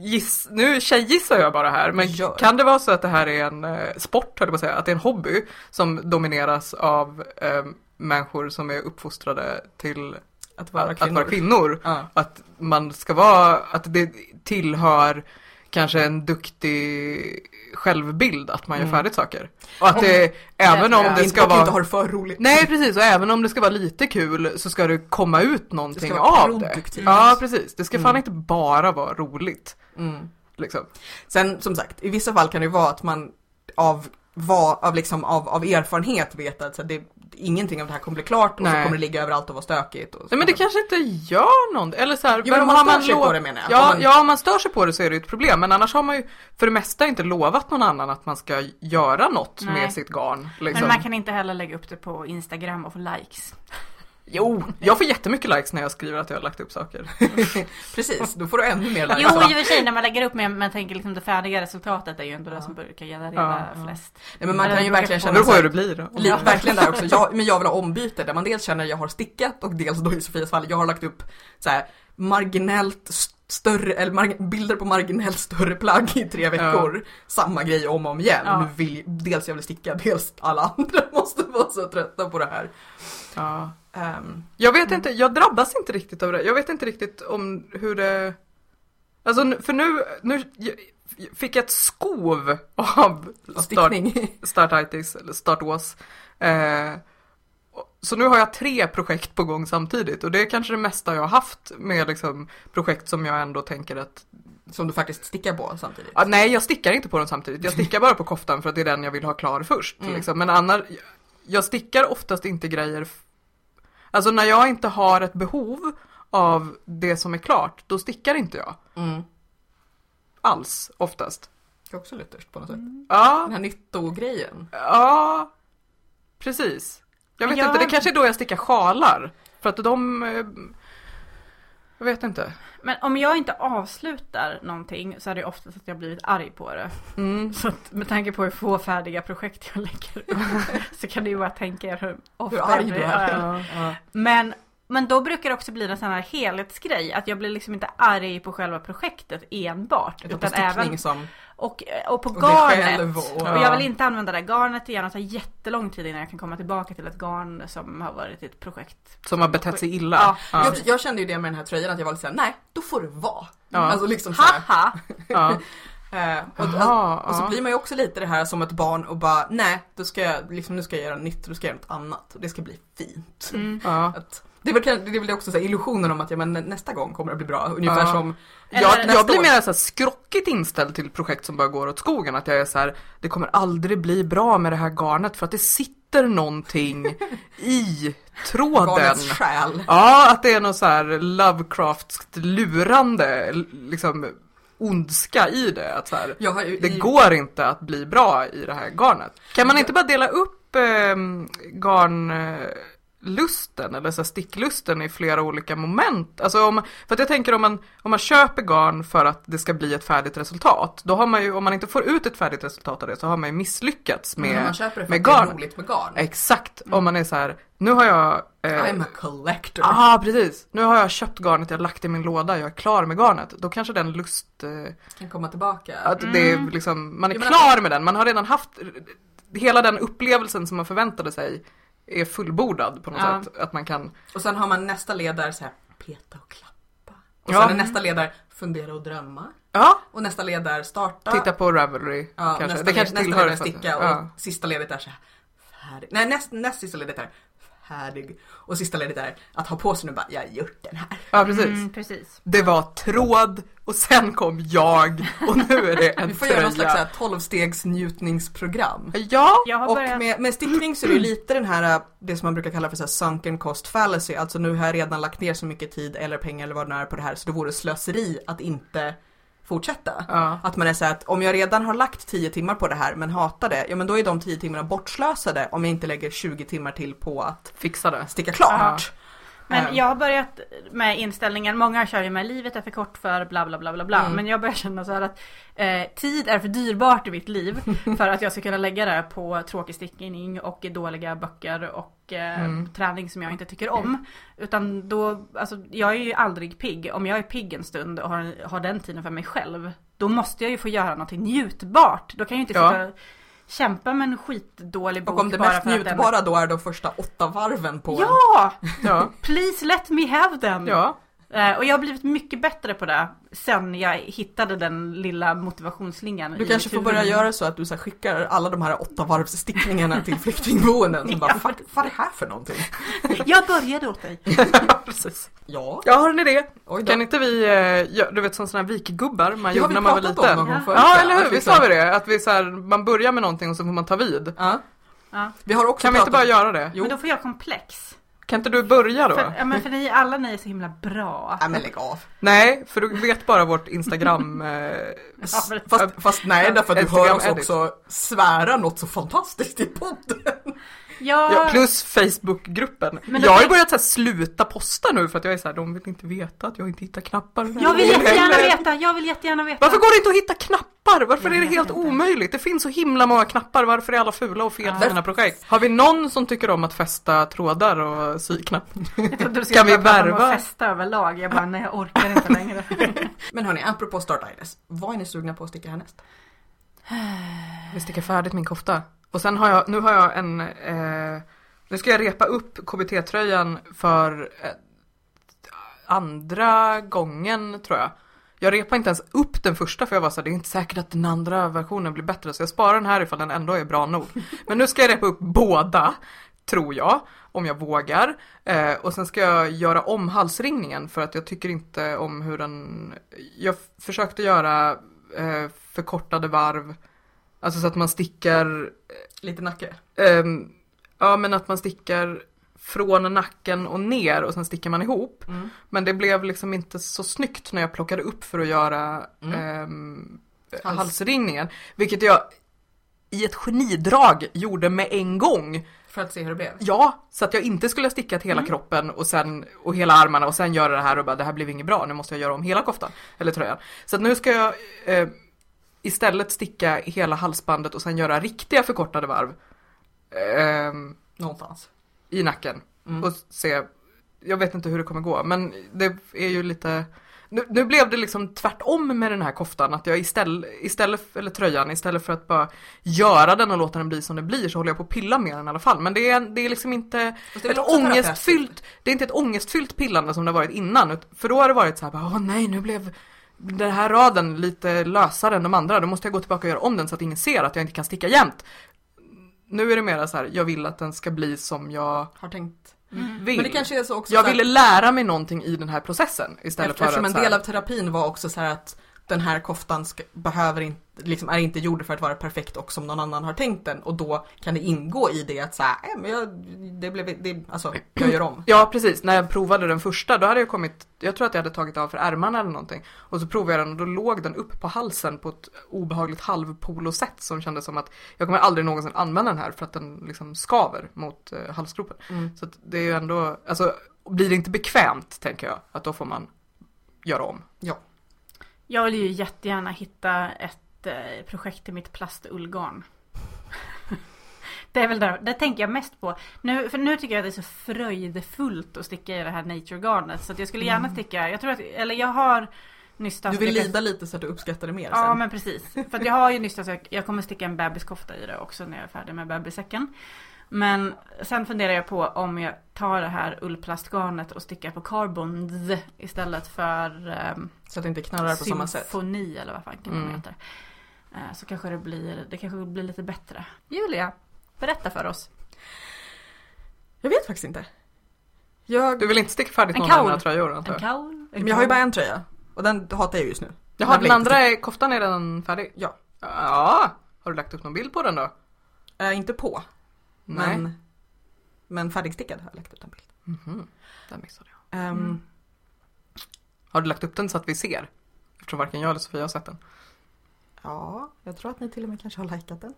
S2: giss, nu tjejgissar jag bara här, men
S1: Gör.
S2: kan det vara så att det här är en eh, sport, höll jag på att säga, att det är en hobby som domineras av eh, människor som är uppfostrade till
S1: att vara
S2: att, att
S1: kvinnor.
S2: vara kvinnor?
S1: Ja.
S2: Att man ska vara, att det tillhör kanske en duktig självbild att man gör
S1: Mm.
S2: färdigt saker. Och att det, även om
S3: tror jag.
S2: det
S1: Inte
S2: ska
S1: att du inte
S2: vara
S1: har det för roligt.
S2: Nej precis, och även om det ska vara lite kul så ska det komma ut någonting
S1: Det ska vara
S2: av det.
S1: produktivt.
S2: Ja precis, det ska fan
S1: Mm.
S2: inte bara vara roligt.
S1: Mm.
S2: Liksom.
S1: Sen som sagt, i vissa fall kan det ju vara att man av, va- av, liksom, av, av erfarenhet vet att så här, det, ingenting av det här kommer bli klart och
S2: Nej.
S1: så kommer det ligga överallt och vara stökigt. Och så
S2: Nej men det
S1: kommer-
S2: kanske inte gör någonting, eller så här,
S1: Jo, men om
S2: vem
S1: man
S2: har
S1: stör sig
S2: lov-
S1: på det menar jag.
S2: Ja,
S1: Om man-
S2: ja, om man stör sig på det så är det ju ett problem, men annars har man ju för det mesta inte lovat någon annan att man ska göra något
S3: Nej.
S2: med sitt garn. Liksom.
S3: Men man kan inte heller lägga upp det på Instagram och få likes.
S2: Jo, jag får jättemycket likes när jag skriver att jag har lagt upp saker.
S1: Precis, då får du ännu mer likes.
S3: Jo, i
S1: va?
S3: och för sig när man lägger upp men man tänker liksom det färdiga resultatet är ju ändå det som brukar generera
S2: Ja, ja.
S3: flest.
S1: Nej, men man kan ju verkligen
S2: Det
S1: känna
S2: beror på
S1: så
S2: hur det
S1: här,
S2: blir. Om-
S1: li, verkligen där också, jag, men jag vill ha ombyte där man dels känner att jag har stickat och dels då i Sofias fall, jag har lagt upp så här marginellt st- större, eller marg- bilder på marginellt större plagg i tre veckor. Samma grej om och om igen.
S3: Ja.
S1: Nu vill, dels jag vill sticka, dels alla andra [LAUGHS] måste vara så trötta på det här.
S2: Ja.
S1: Ehm,
S2: Jag vet inte, jag drabbas inte riktigt av det. Jag vet inte riktigt om hur det... Alltså n- för nu, nu jag- jag fick jag ett skov av start,
S1: stickning. [LAUGHS]
S2: startitis, eller startås. Eh, och- så nu har jag tre projekt på gång samtidigt och det är kanske det mesta jag har haft med liksom, projekt som jag ändå tänker att,
S1: Som du faktiskt stickar på samtidigt.
S2: ah, nej jag stickar inte på dem samtidigt, jag stickar bara på koftan för att det är den jag vill ha klar först.
S1: Mm.
S2: Liksom. Men annars, jag stickar oftast inte grejer Alltså när jag inte har ett behov av det som är klart, då stickar inte jag
S1: Mm.
S2: alls oftast.
S1: Det är också luthers på något sätt. Den
S2: Ja,
S1: här nyttogrejen.
S2: ja, precis. Jag vet
S3: Jag-
S2: inte, det kanske är då jag stickar sjalar. För att de, eh, jag vet inte.
S3: Men om jag inte avslutar någonting så är det oftast att jag blivit arg på det. [LAUGHS]
S2: Mm.
S3: Så att med tanke på hur få färdiga projekt [LAUGHS] jag lägger upp så kan ni ju bara tänka er hur ofta
S1: Hur arg
S3: jag blir
S1: du är.
S3: arg.
S2: Ja.
S3: Men Men då brukar det också bli en sån här helhetsgrej. Att jag blir liksom inte arg på själva projektet enbart.
S1: Utan
S3: Utan
S1: stickning
S3: även,
S1: som...
S3: och, och på
S1: dig
S3: garnet.
S1: själv
S3: Och,
S1: och-
S3: jag vill inte använda det här garnet igen. Det tar jättelång tid innan jag kan komma tillbaka till ett garn som har varit i ett projekt.
S2: Som har betett sig illa.
S3: Ja.
S1: Jag, jag kände ju det med den här tröjan att jag var lite såhär, nej, då får det vara.
S2: Ja.
S1: Alltså liksom såhär.
S3: Haha!
S2: ja.
S1: Eh, och,
S2: Jaha,
S1: och så
S2: ja.
S1: blir man ju också lite det här som ett barn och bara, nej, då ska jag, liksom, nu ska jag göra nytt, då ska jag göra något annat. Och det ska bli fint.
S3: Mm.
S2: ja.
S1: Att, det, är väl, kan- det är väl också så här illusionen om att ja, men nä- nästa gång kommer det bli bra. Ungefär
S2: Ja.
S1: som,
S3: Eller-
S1: ja,
S2: Jag
S1: nästa
S2: blir
S1: år-
S2: mer så här skrockigt inställd till projekt som bara går åt skogen. Att jag är så här, det kommer aldrig bli bra med det här garnet för att det sitter någonting i tråden.
S1: barnets själ.
S2: Ja, att det är någon så här Lovecraftskt lurande l- liksom ondska i det. Att så här,
S1: Jag har ju,
S2: det
S1: i-
S2: går inte att bli bra i det här garnet. Kan man inte bara dela upp eh, garnlusten eller så här sticklusten i flera olika moment? Alltså om, för att jag tänker om man, om man köper garn för att det ska bli ett färdigt resultat, då har man ju, om man inte får ut ett färdigt resultat av det så har man ju misslyckats med,
S1: Mm, man köper det för att
S2: med
S1: det är
S2: garn. Eh,
S1: roligt med garn.
S2: Exakt, om man är så här, nu har jag... eh,
S1: I'm a collector.
S2: Ja, ah, precis. Nu har jag köpt garnet, jag har lagt det i min låda, jag är klar med garnet. Då kanske den lust... Eh,
S1: Kan komma tillbaka.
S2: att det är liksom, man är
S1: Jo, Mm. men alltså-
S2: klar med den, man har redan haft... Hela den upplevelsen som man förväntade sig är fullbordad på något
S3: Ja.
S2: sätt. Att man kan...
S1: Och sen har man nästa led där så här, peta och klappa. Och
S2: Ja.
S1: sen är nästa led där, fundera och drömma.
S2: Ja,
S1: Och nästa led där, starta.
S2: titta på Ravelry
S1: ja,
S2: kanske.
S1: Nästa,
S2: det kanske
S1: led, nästa
S2: tillhör
S1: led är sticka och
S2: ja.
S1: sista ledet är så här, färdig. Nej, näst, näst sista ledet är färdig. Och sista ledet är att ha på sig nu bara, jag har gjort den här.
S2: ja, precis.
S3: Mm, precis.
S2: Det var tråd och sen kom jag och nu
S1: [LAUGHS]
S2: är det
S1: Vi
S2: en
S1: får göra någon slags så
S2: tröja.
S1: här 12-stegs njutningsprogram.
S2: Ja,
S3: Jag har
S1: Och
S3: börjat...
S1: med, med stickning så är det ju lite den här, äh, det som man brukar kalla för så här sunken cost fallacy, alltså nu har jag redan lagt ner så mycket tid eller pengar eller vad det nu är på det här så det vore slöseri att inte fortsätta.
S2: Ja.
S1: Att man är så här att om jag redan har lagt 10 timmar på det här men hatar det, ja men då är de 10 timmarna bortslösade om jag inte lägger 20 timmar till på att
S2: fixa det.
S1: sticka klart.
S3: Men
S1: Ehm.
S3: jag har börjat med inställningen, många kör ju med livet är för kort för bla bla bla bla bla.
S1: Mm.
S3: Men jag börjar känna så här att eh, tid är för dyrbart i
S1: [LAUGHS]
S3: mitt liv för att jag ska kunna lägga det på tråkig stickning och dåliga böcker och eh,
S2: Mm.
S3: träning som jag inte tycker om. Utan då, alltså jag är ju aldrig pigg. Om jag är pigg en stund och har, har den tiden för mig själv, då måste jag ju få göra någonting njutbart. Då kan jag ju inte
S2: Ja.
S3: sitta och kämpa med en skitdålig bok
S1: Och om det
S3: bara
S1: mest
S3: för att den-
S1: njutbara då är de första åtta varven på en.
S3: Ja!
S2: Ja,
S3: Please let me have
S1: [LAUGHS]
S3: them!
S2: ja.
S3: Eh, Och jag har blivit mycket bättre på det sen jag hittade den lilla motivationsslingan.
S1: Du
S3: i
S1: kanske
S3: mitt
S1: får
S3: huvud.
S1: börja göra så att du så här skickar alla de här åtta varvsstickningarna
S3: [LAUGHS]
S1: till flyktingboenden som bara, "Fuck, vad är det här för någonting?
S3: [LAUGHS] Jag började åt dig.
S2: precis.
S1: Ja,
S2: Jag har en idé.
S1: oj då.
S2: Kan inte vi, eh, gö- du vet som sådana här vikgubbar man
S1: Det har
S2: gjorde
S1: vi
S2: när man var
S1: pratat om någon
S2: liten?
S1: gång
S3: Ja.
S1: förut.
S2: Ja eller hur,
S1: Att
S2: visst har vi det? Att vi så här, man börjar med någonting och så får man ta vid.
S1: Ja.
S3: Ja.
S1: Vi har också
S2: Kan vi
S1: pratat
S2: inte bara göra det?
S1: Jo.
S3: Men då får jag komplex.
S2: Kan inte du börja då?
S3: För, ja, men för ni alla ni är så himla bra.
S1: Nej men lägg av.
S2: [LAUGHS] Nej, för du vet bara vårt
S3: [LAUGHS]
S2: Instagram... Eh,
S3: Ja, men-
S1: Fast, fast nej, därför att du hör oss
S2: Instagram-edit.
S1: också svära något så fantastiskt i podden.
S2: ja,
S3: Ja,
S2: plus Facebookgruppen.
S3: Men
S2: Jag har
S3: det-
S2: ju börjat så här, sluta posta nu för att jag är så här, de vill inte veta att jag inte hittar knappar.
S3: jag vill jättegärna veta, jag vill jättegärna veta.
S2: Varför går det inte att hitta knappar? Varför
S3: Jag
S2: är det
S3: vet
S2: helt
S3: inte.
S2: omöjligt? Det finns så himla många knappar, varför är alla fula och fel
S3: Ja.
S2: för mina projekt? Har vi någon som tycker om att fästa trådar och sy knappar?
S3: Jag trodde du skulle
S2: Kan vi
S3: prata om att
S2: värva?
S3: festa överlag. Jag bara, nej jag orkar
S2: [LAUGHS]
S3: inte längre.
S1: Men hörni, apropå Start Iris, vad är ni sugna på att sticka härnäst?
S2: Jag vill sticka färdigt min kofta. Och sen har jag, nu har jag en, eh, nu ska jag repa upp KBT-tröjan för eh, andra gången tror jag. Jag repade inte ens upp den första för jag var så här, det är inte säkert att den andra versionen blir bättre så jag sparar den här ifall den ändå är bra nog. Men nu ska jag repa upp båda, tror jag, om jag vågar. Eh, och sen ska jag göra om halsringningen för att jag tycker inte om hur den... Jag f- försökte göra eh, förkortade varv, alltså så att man stickar
S1: Lite nacke.
S2: Ehm, ja men att man stickar från nacken och ner och sen stickar man ihop.
S1: Mm.
S2: Men det blev liksom inte så snyggt när jag plockade upp för att göra ehm,
S1: Mm. Hals.
S2: halsringningen. Vilket jag i ett genidrag gjorde med en gång.
S1: För att se hur det blev.
S2: Ja, så att jag inte skulle ha stickat hela kroppen och, sen, och hela armarna och sen göra det här och bara det här blev inget bra, nu måste jag göra om hela koftan eller tröjan. Så att nu ska jag eh, istället sticka hela halsbandet och sen göra riktiga förkortade varv. Ehm,
S1: Någonstans.
S2: i nacken
S1: Mm.
S2: och se jag vet inte hur det kommer gå, men det är ju lite... Nu, nu blev det liksom tvärtom med den här koftan, att jag istället, istället, eller tröjan, istället för att bara göra den och låta den bli som den blir så håller jag på att pilla med den i alla fall. Men det är, det är liksom inte
S1: Fast det är väl
S2: ett
S1: också
S2: ångestfyllt, det är inte ett ångestfyllt pillande som det har varit innan. ut- För då har det varit så här, bara, åh nej nu blev den här raden lite lösare än de andra, då måste jag gå tillbaka och göra om den så att ingen ser att jag inte kan sticka jämnt. Nu är det mera så här, jag vill att den ska bli som jag
S1: Har tänkt.
S3: Mm.
S2: vill.
S1: Men det kanske är så också
S2: Jag
S1: så här-
S2: ville lära mig någonting i den här processen istället för
S1: Eftersom
S2: att
S1: en
S2: så här,
S1: del av terapin var också så här att den här koftan ska, behöver inte, liksom är inte gjord för att vara perfekt och som någon annan har tänkt den och då kan det ingå i det att så här, "Äh, men jag, det blev, det, alltså jag gör om.
S2: Ja precis, när jag provade den första då hade jag kommit, jag tror att jag hade tagit av för ärmarna eller någonting. Och så provade jag den och då låg den upp på halsen på ett obehagligt halvpolosätt som kändes som att jag kommer aldrig någonsin använda den här för att den liksom skaver mot eh, halsgropen.
S1: Mm.
S2: Så att det är ju ändå, alltså blir det inte bekvämt tänker jag, att då får man göra om.
S3: Jag vill ju jättegärna hitta ett eh, projekt till mitt plastullgarn. [LAUGHS] det är väl där, det tänker jag mest på. Nu, för nu tycker jag att det är så fröjdefullt att sticka i det här naturegarnet. Så att jag skulle gärna sticka, jag tror att, eller jag har nystan
S1: Mm. Du vill
S3: stickat-
S1: lida liksom. lite så att du uppskattar det mer
S3: Ja
S1: sen.
S3: men precis. För att jag har ju nystat så jag, jag kommer sticka en bebiskofta i det också när jag är färdig med bebissäcken. Men sen funderar jag på om jag tar det här ullplastgarnet och stickar på carbons istället för ehm,
S1: Så att det inte knarrar på samma sätt.
S3: Symfoni eller vad fanken
S2: Mm.
S3: de heter. Eh, Så kanske det blir, det kanske blir lite bättre. Julia, berätta för oss.
S1: Jag vet faktiskt inte. Jag,
S2: Du vill inte sticka färdigt
S3: En
S2: någon av dina
S3: kaul.
S2: tröjor antar
S3: En
S2: jag?
S3: kaul?
S1: men jag har ju bara en tröja och den hatar jag just nu.
S2: Jaha,
S1: blir
S2: den
S1: inte
S2: andra är, koftan är redan färdig?
S1: Ja.
S2: Ja, har du lagt upp någon bild på den då?
S1: Äh, inte på, men, men färdigstickad har jag lagt ut en bild.
S2: Mhm, där missade jag.
S1: Ehm,
S3: Mm.
S2: Har du lagt upp den så att vi ser? Eftersom varken jag eller Sofia har
S1: [LAUGHS]
S2: sett den.
S1: Ja, jag tror att ni till och med kanske har likat den.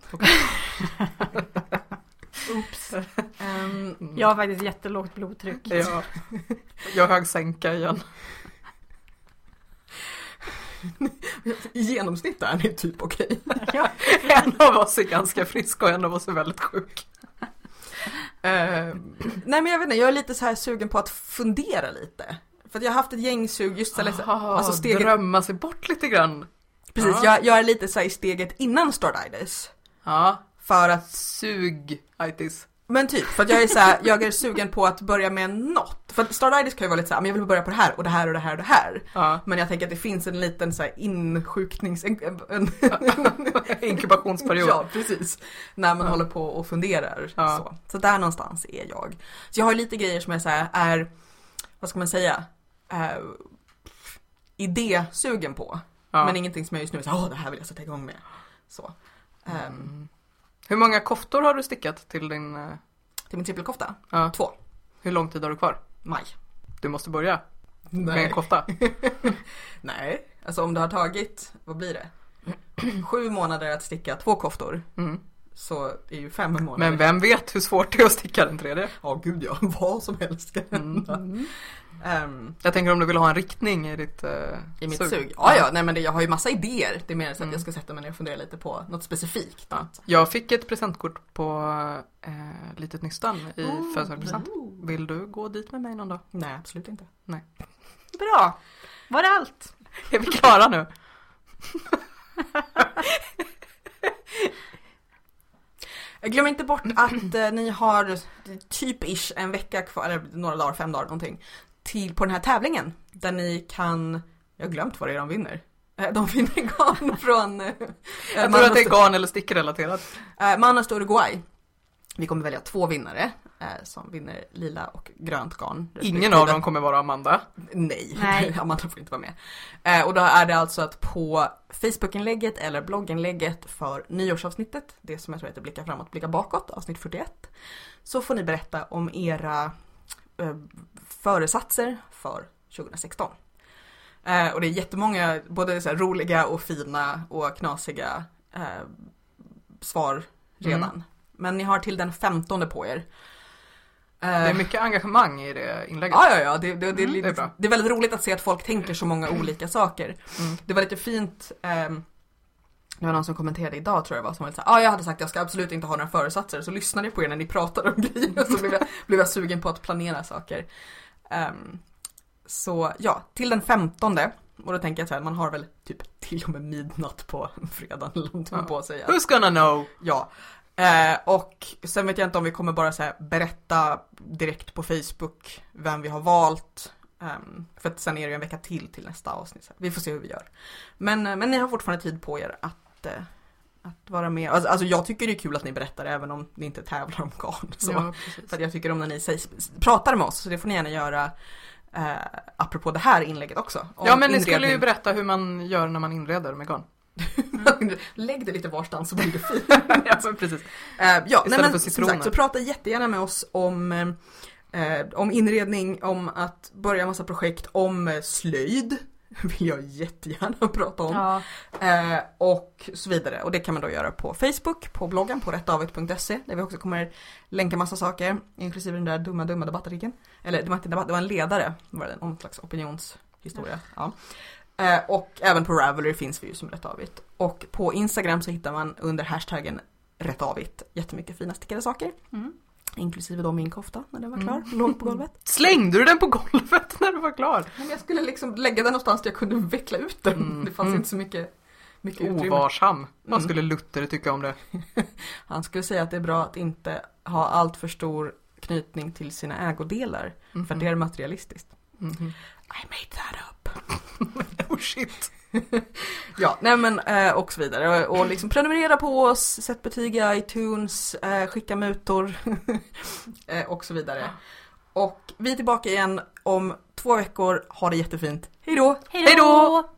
S3: Oops.
S1: Ehm,
S2: Mm.
S3: Jag har faktiskt jättelågt blodtryck.
S2: Jag, jag högg sänka igen.
S1: I genomsnitt är ni typ okej.
S3: [LAUGHS] Ja.
S2: [LAUGHS] En av oss är ganska frisk och en av oss är väldigt
S1: [LAUGHS]
S2: sjuk. Eh,
S1: Nej men jag vet inte, jag är lite så här sugen på att fundera lite. För att jag har haft ett gäng sug just så här, liksom-
S2: ah,
S1: alltså steget-
S2: Drömma sig bort lite grann.
S1: Precis,
S2: Ja.
S1: jag, jag är lite så här i steget innan Stardides.
S2: Ja,
S1: För att,
S2: sug Aitis.
S1: men typ, för att jag är så här, jag är sugen på att börja med något. För att Stardides kan ju vara lite så här, "Ah, men jag vill börja på det här och det här och det här och det här.
S2: Ja.
S1: Men jag tänker att det finns en liten så här insjuknings... En, en,
S2: [LAUGHS] Inkubationsperiod.
S1: Ja, precis. När man
S2: Ja.
S1: håller på och funderar.
S2: Ja.
S1: Så. så där någonstans är jag. Så jag har lite grejer som är så här, är, vad ska man säga, eh, idésugen på.
S2: Ja.
S1: Men ingenting som jag just nu är så här, åh det här vill jag sätta igång med. Så. Eh,
S2: Mm. Hur många koftor har du stickat till din... eh,
S1: Till min trippelkofta,
S2: Ja.
S1: två,
S2: Hur lång tid har du kvar?
S1: maj.
S2: Du måste börja med en
S1: Nej.
S2: kofta.
S1: Nej, alltså om det har tagit, vad blir det? [CLEARS THROAT] Sju månader att sticka två koftor [LAUGHS]
S2: Mm.
S1: så är ju fem månader.
S2: Men vem vet hur svårt det är att sticka den tredje?
S1: Ja gud ja, [LAUGHS] vad som helst kan hända. Mm.
S3: Mm.
S1: Ehm,
S2: Jag tänker om du vill ha en riktning i ditt eh,
S1: I mitt sug. Ja, Mm. ja, nej men det, jag har ju massa idéer. Det är mer så att jag ska sätta mig ner och fundera lite på något specifikt.
S2: Ja. Jag fick ett presentkort på eh, litet nystan i
S1: Oh,
S2: födelsedagspresent.
S1: oh.
S2: Vill du gå dit med mig
S1: [LAUGHS]
S2: någon dag?
S1: Nej, absolut inte.
S3: Bra. Var det allt?
S2: Är vi klara nu?
S1: Glöm inte bort att eh, ni har typ-ish en vecka kvar, eller några dagar, fem dagar någonting, till på den här tävlingen där ni kan, jag har glömt vad det är de vinner. Eh, De [LAUGHS] vinner garn från eh,
S2: Jag tror
S1: Manus-
S2: att det är garn eller stickrelaterat.
S1: eh, Manas och Uruguay. Vi kommer välja två vinnare eh, som vinner lila och grönt garn.
S2: Ingen
S1: respektive.
S2: av dem kommer vara Amanda.
S1: Nej, [LAUGHS]
S3: Nej.
S1: Amanda får inte vara med. Eh, och då är det alltså att på Facebookinlägget eller blogginlägget för nyårsavsnittet, det som jag tror heter Blicka framåt, blicka bakåt, avsnitt 41, så får ni berätta om era eh, föresatser för 2016. Eh, och det är jättemånga, både så här roliga och fina och knasiga eh, svar redan.
S2: Mm.
S1: Men ni har till den 15 på er. Eh,
S2: Det är mycket engagemang i det inlägget.
S1: Ja, ja, ja. Det, det, det,
S3: Mm.
S1: det,
S2: Det
S1: är
S2: är bra.
S1: det är väldigt roligt att se att folk tänker så många olika saker.
S2: Mm.
S1: Det var lite fint, ehm, det var någon som kommenterade idag tror jag det var, som var lite såhär, ah, jag hade sagt att jag ska absolut inte ha några [LAUGHS] föresatser, så lyssnade jag på er när ni pratade om grejer så blev jag, blev jag sugen på att planera saker. Ehm, så ja, till den 15 och då tänker jag så här, man har väl typ till och med midnatt på [LAUGHS] fredagen eller någonting
S2: Ja.
S1: på sig.
S2: Who's gonna know?
S1: Ja. Eh, och sen vet jag inte om vi kommer bara så här berätta direkt på Facebook vem vi har valt. Ehm, för att sen är det ju en vecka till till nästa avsnitt. Så Vi får se hur vi gör. Men, eh, men ni har fortfarande tid på er att, eh, att vara med. Alltså, alltså jag tycker det är kul att ni berättar även om ni inte tävlar om garn. Så.
S2: Ja, precis.
S1: För att jag tycker om när ni säger, pratar med oss, så det får ni gärna göra eh, apropå det här inlägget också. Om
S2: ja men ni
S1: inredning.
S2: skulle ju berätta hur man gör när man inreder med garn.
S1: [LAUGHS] Lägg det lite varstans så blir det fint.
S2: ja, men precis.
S1: Eh, ja, nej,
S2: för
S1: men som
S2: citroner.
S1: sagt, så prata jättegärna med oss om, eh, om inredning, om att börja massa projekt, om eh, slöjd [LAUGHS] vill jag jättegärna prata om.
S3: Ja.
S1: Eh, och så vidare. Och det kan man då göra på Facebook, på bloggen, på rättavet.se där vi också kommer länka massa saker, inklusive den där dumma dumma debattartikeln. Eller det var inte en debatt, det var en ledare, var det, någon slags opinionshistoria. Ja. Eh, och även på Ravelry finns vi ju som Rättavit. Och på Instagram så hittar man under hashtaggen Rättavit jättemycket fina stickade saker.
S3: Mm.
S1: Inklusive då min kofta när den var klar, låg på golvet.
S2: Slängde du den på golvet [LAUGHS] när du var klar?
S1: [LAUGHS] Men jag skulle liksom lägga den någonstans där jag kunde veckla ut den.
S2: Mm.
S1: Det fanns
S2: Mm.
S1: inte så mycket, mycket utrymme.
S2: Ovarsam. Vad
S1: Mm.
S2: skulle Luther tycka om det?
S1: Han skulle säga att det är bra att inte ha allt för stor knytning till sina ägodelar.
S2: Mm-hmm.
S1: För det är materialistiskt.
S2: Mhm.
S1: Mm. I made that up.
S2: [LAUGHS] Oh shit.
S1: Ja, nej men eh, och så vidare. Och, och liksom prenumerera på oss, sätt betyg i iTunes, eh, skicka mutor [LAUGHS] eh, och så vidare. Och vi är tillbaka igen om två veckor. Ha det jättefint. Hej då!
S3: Hej då!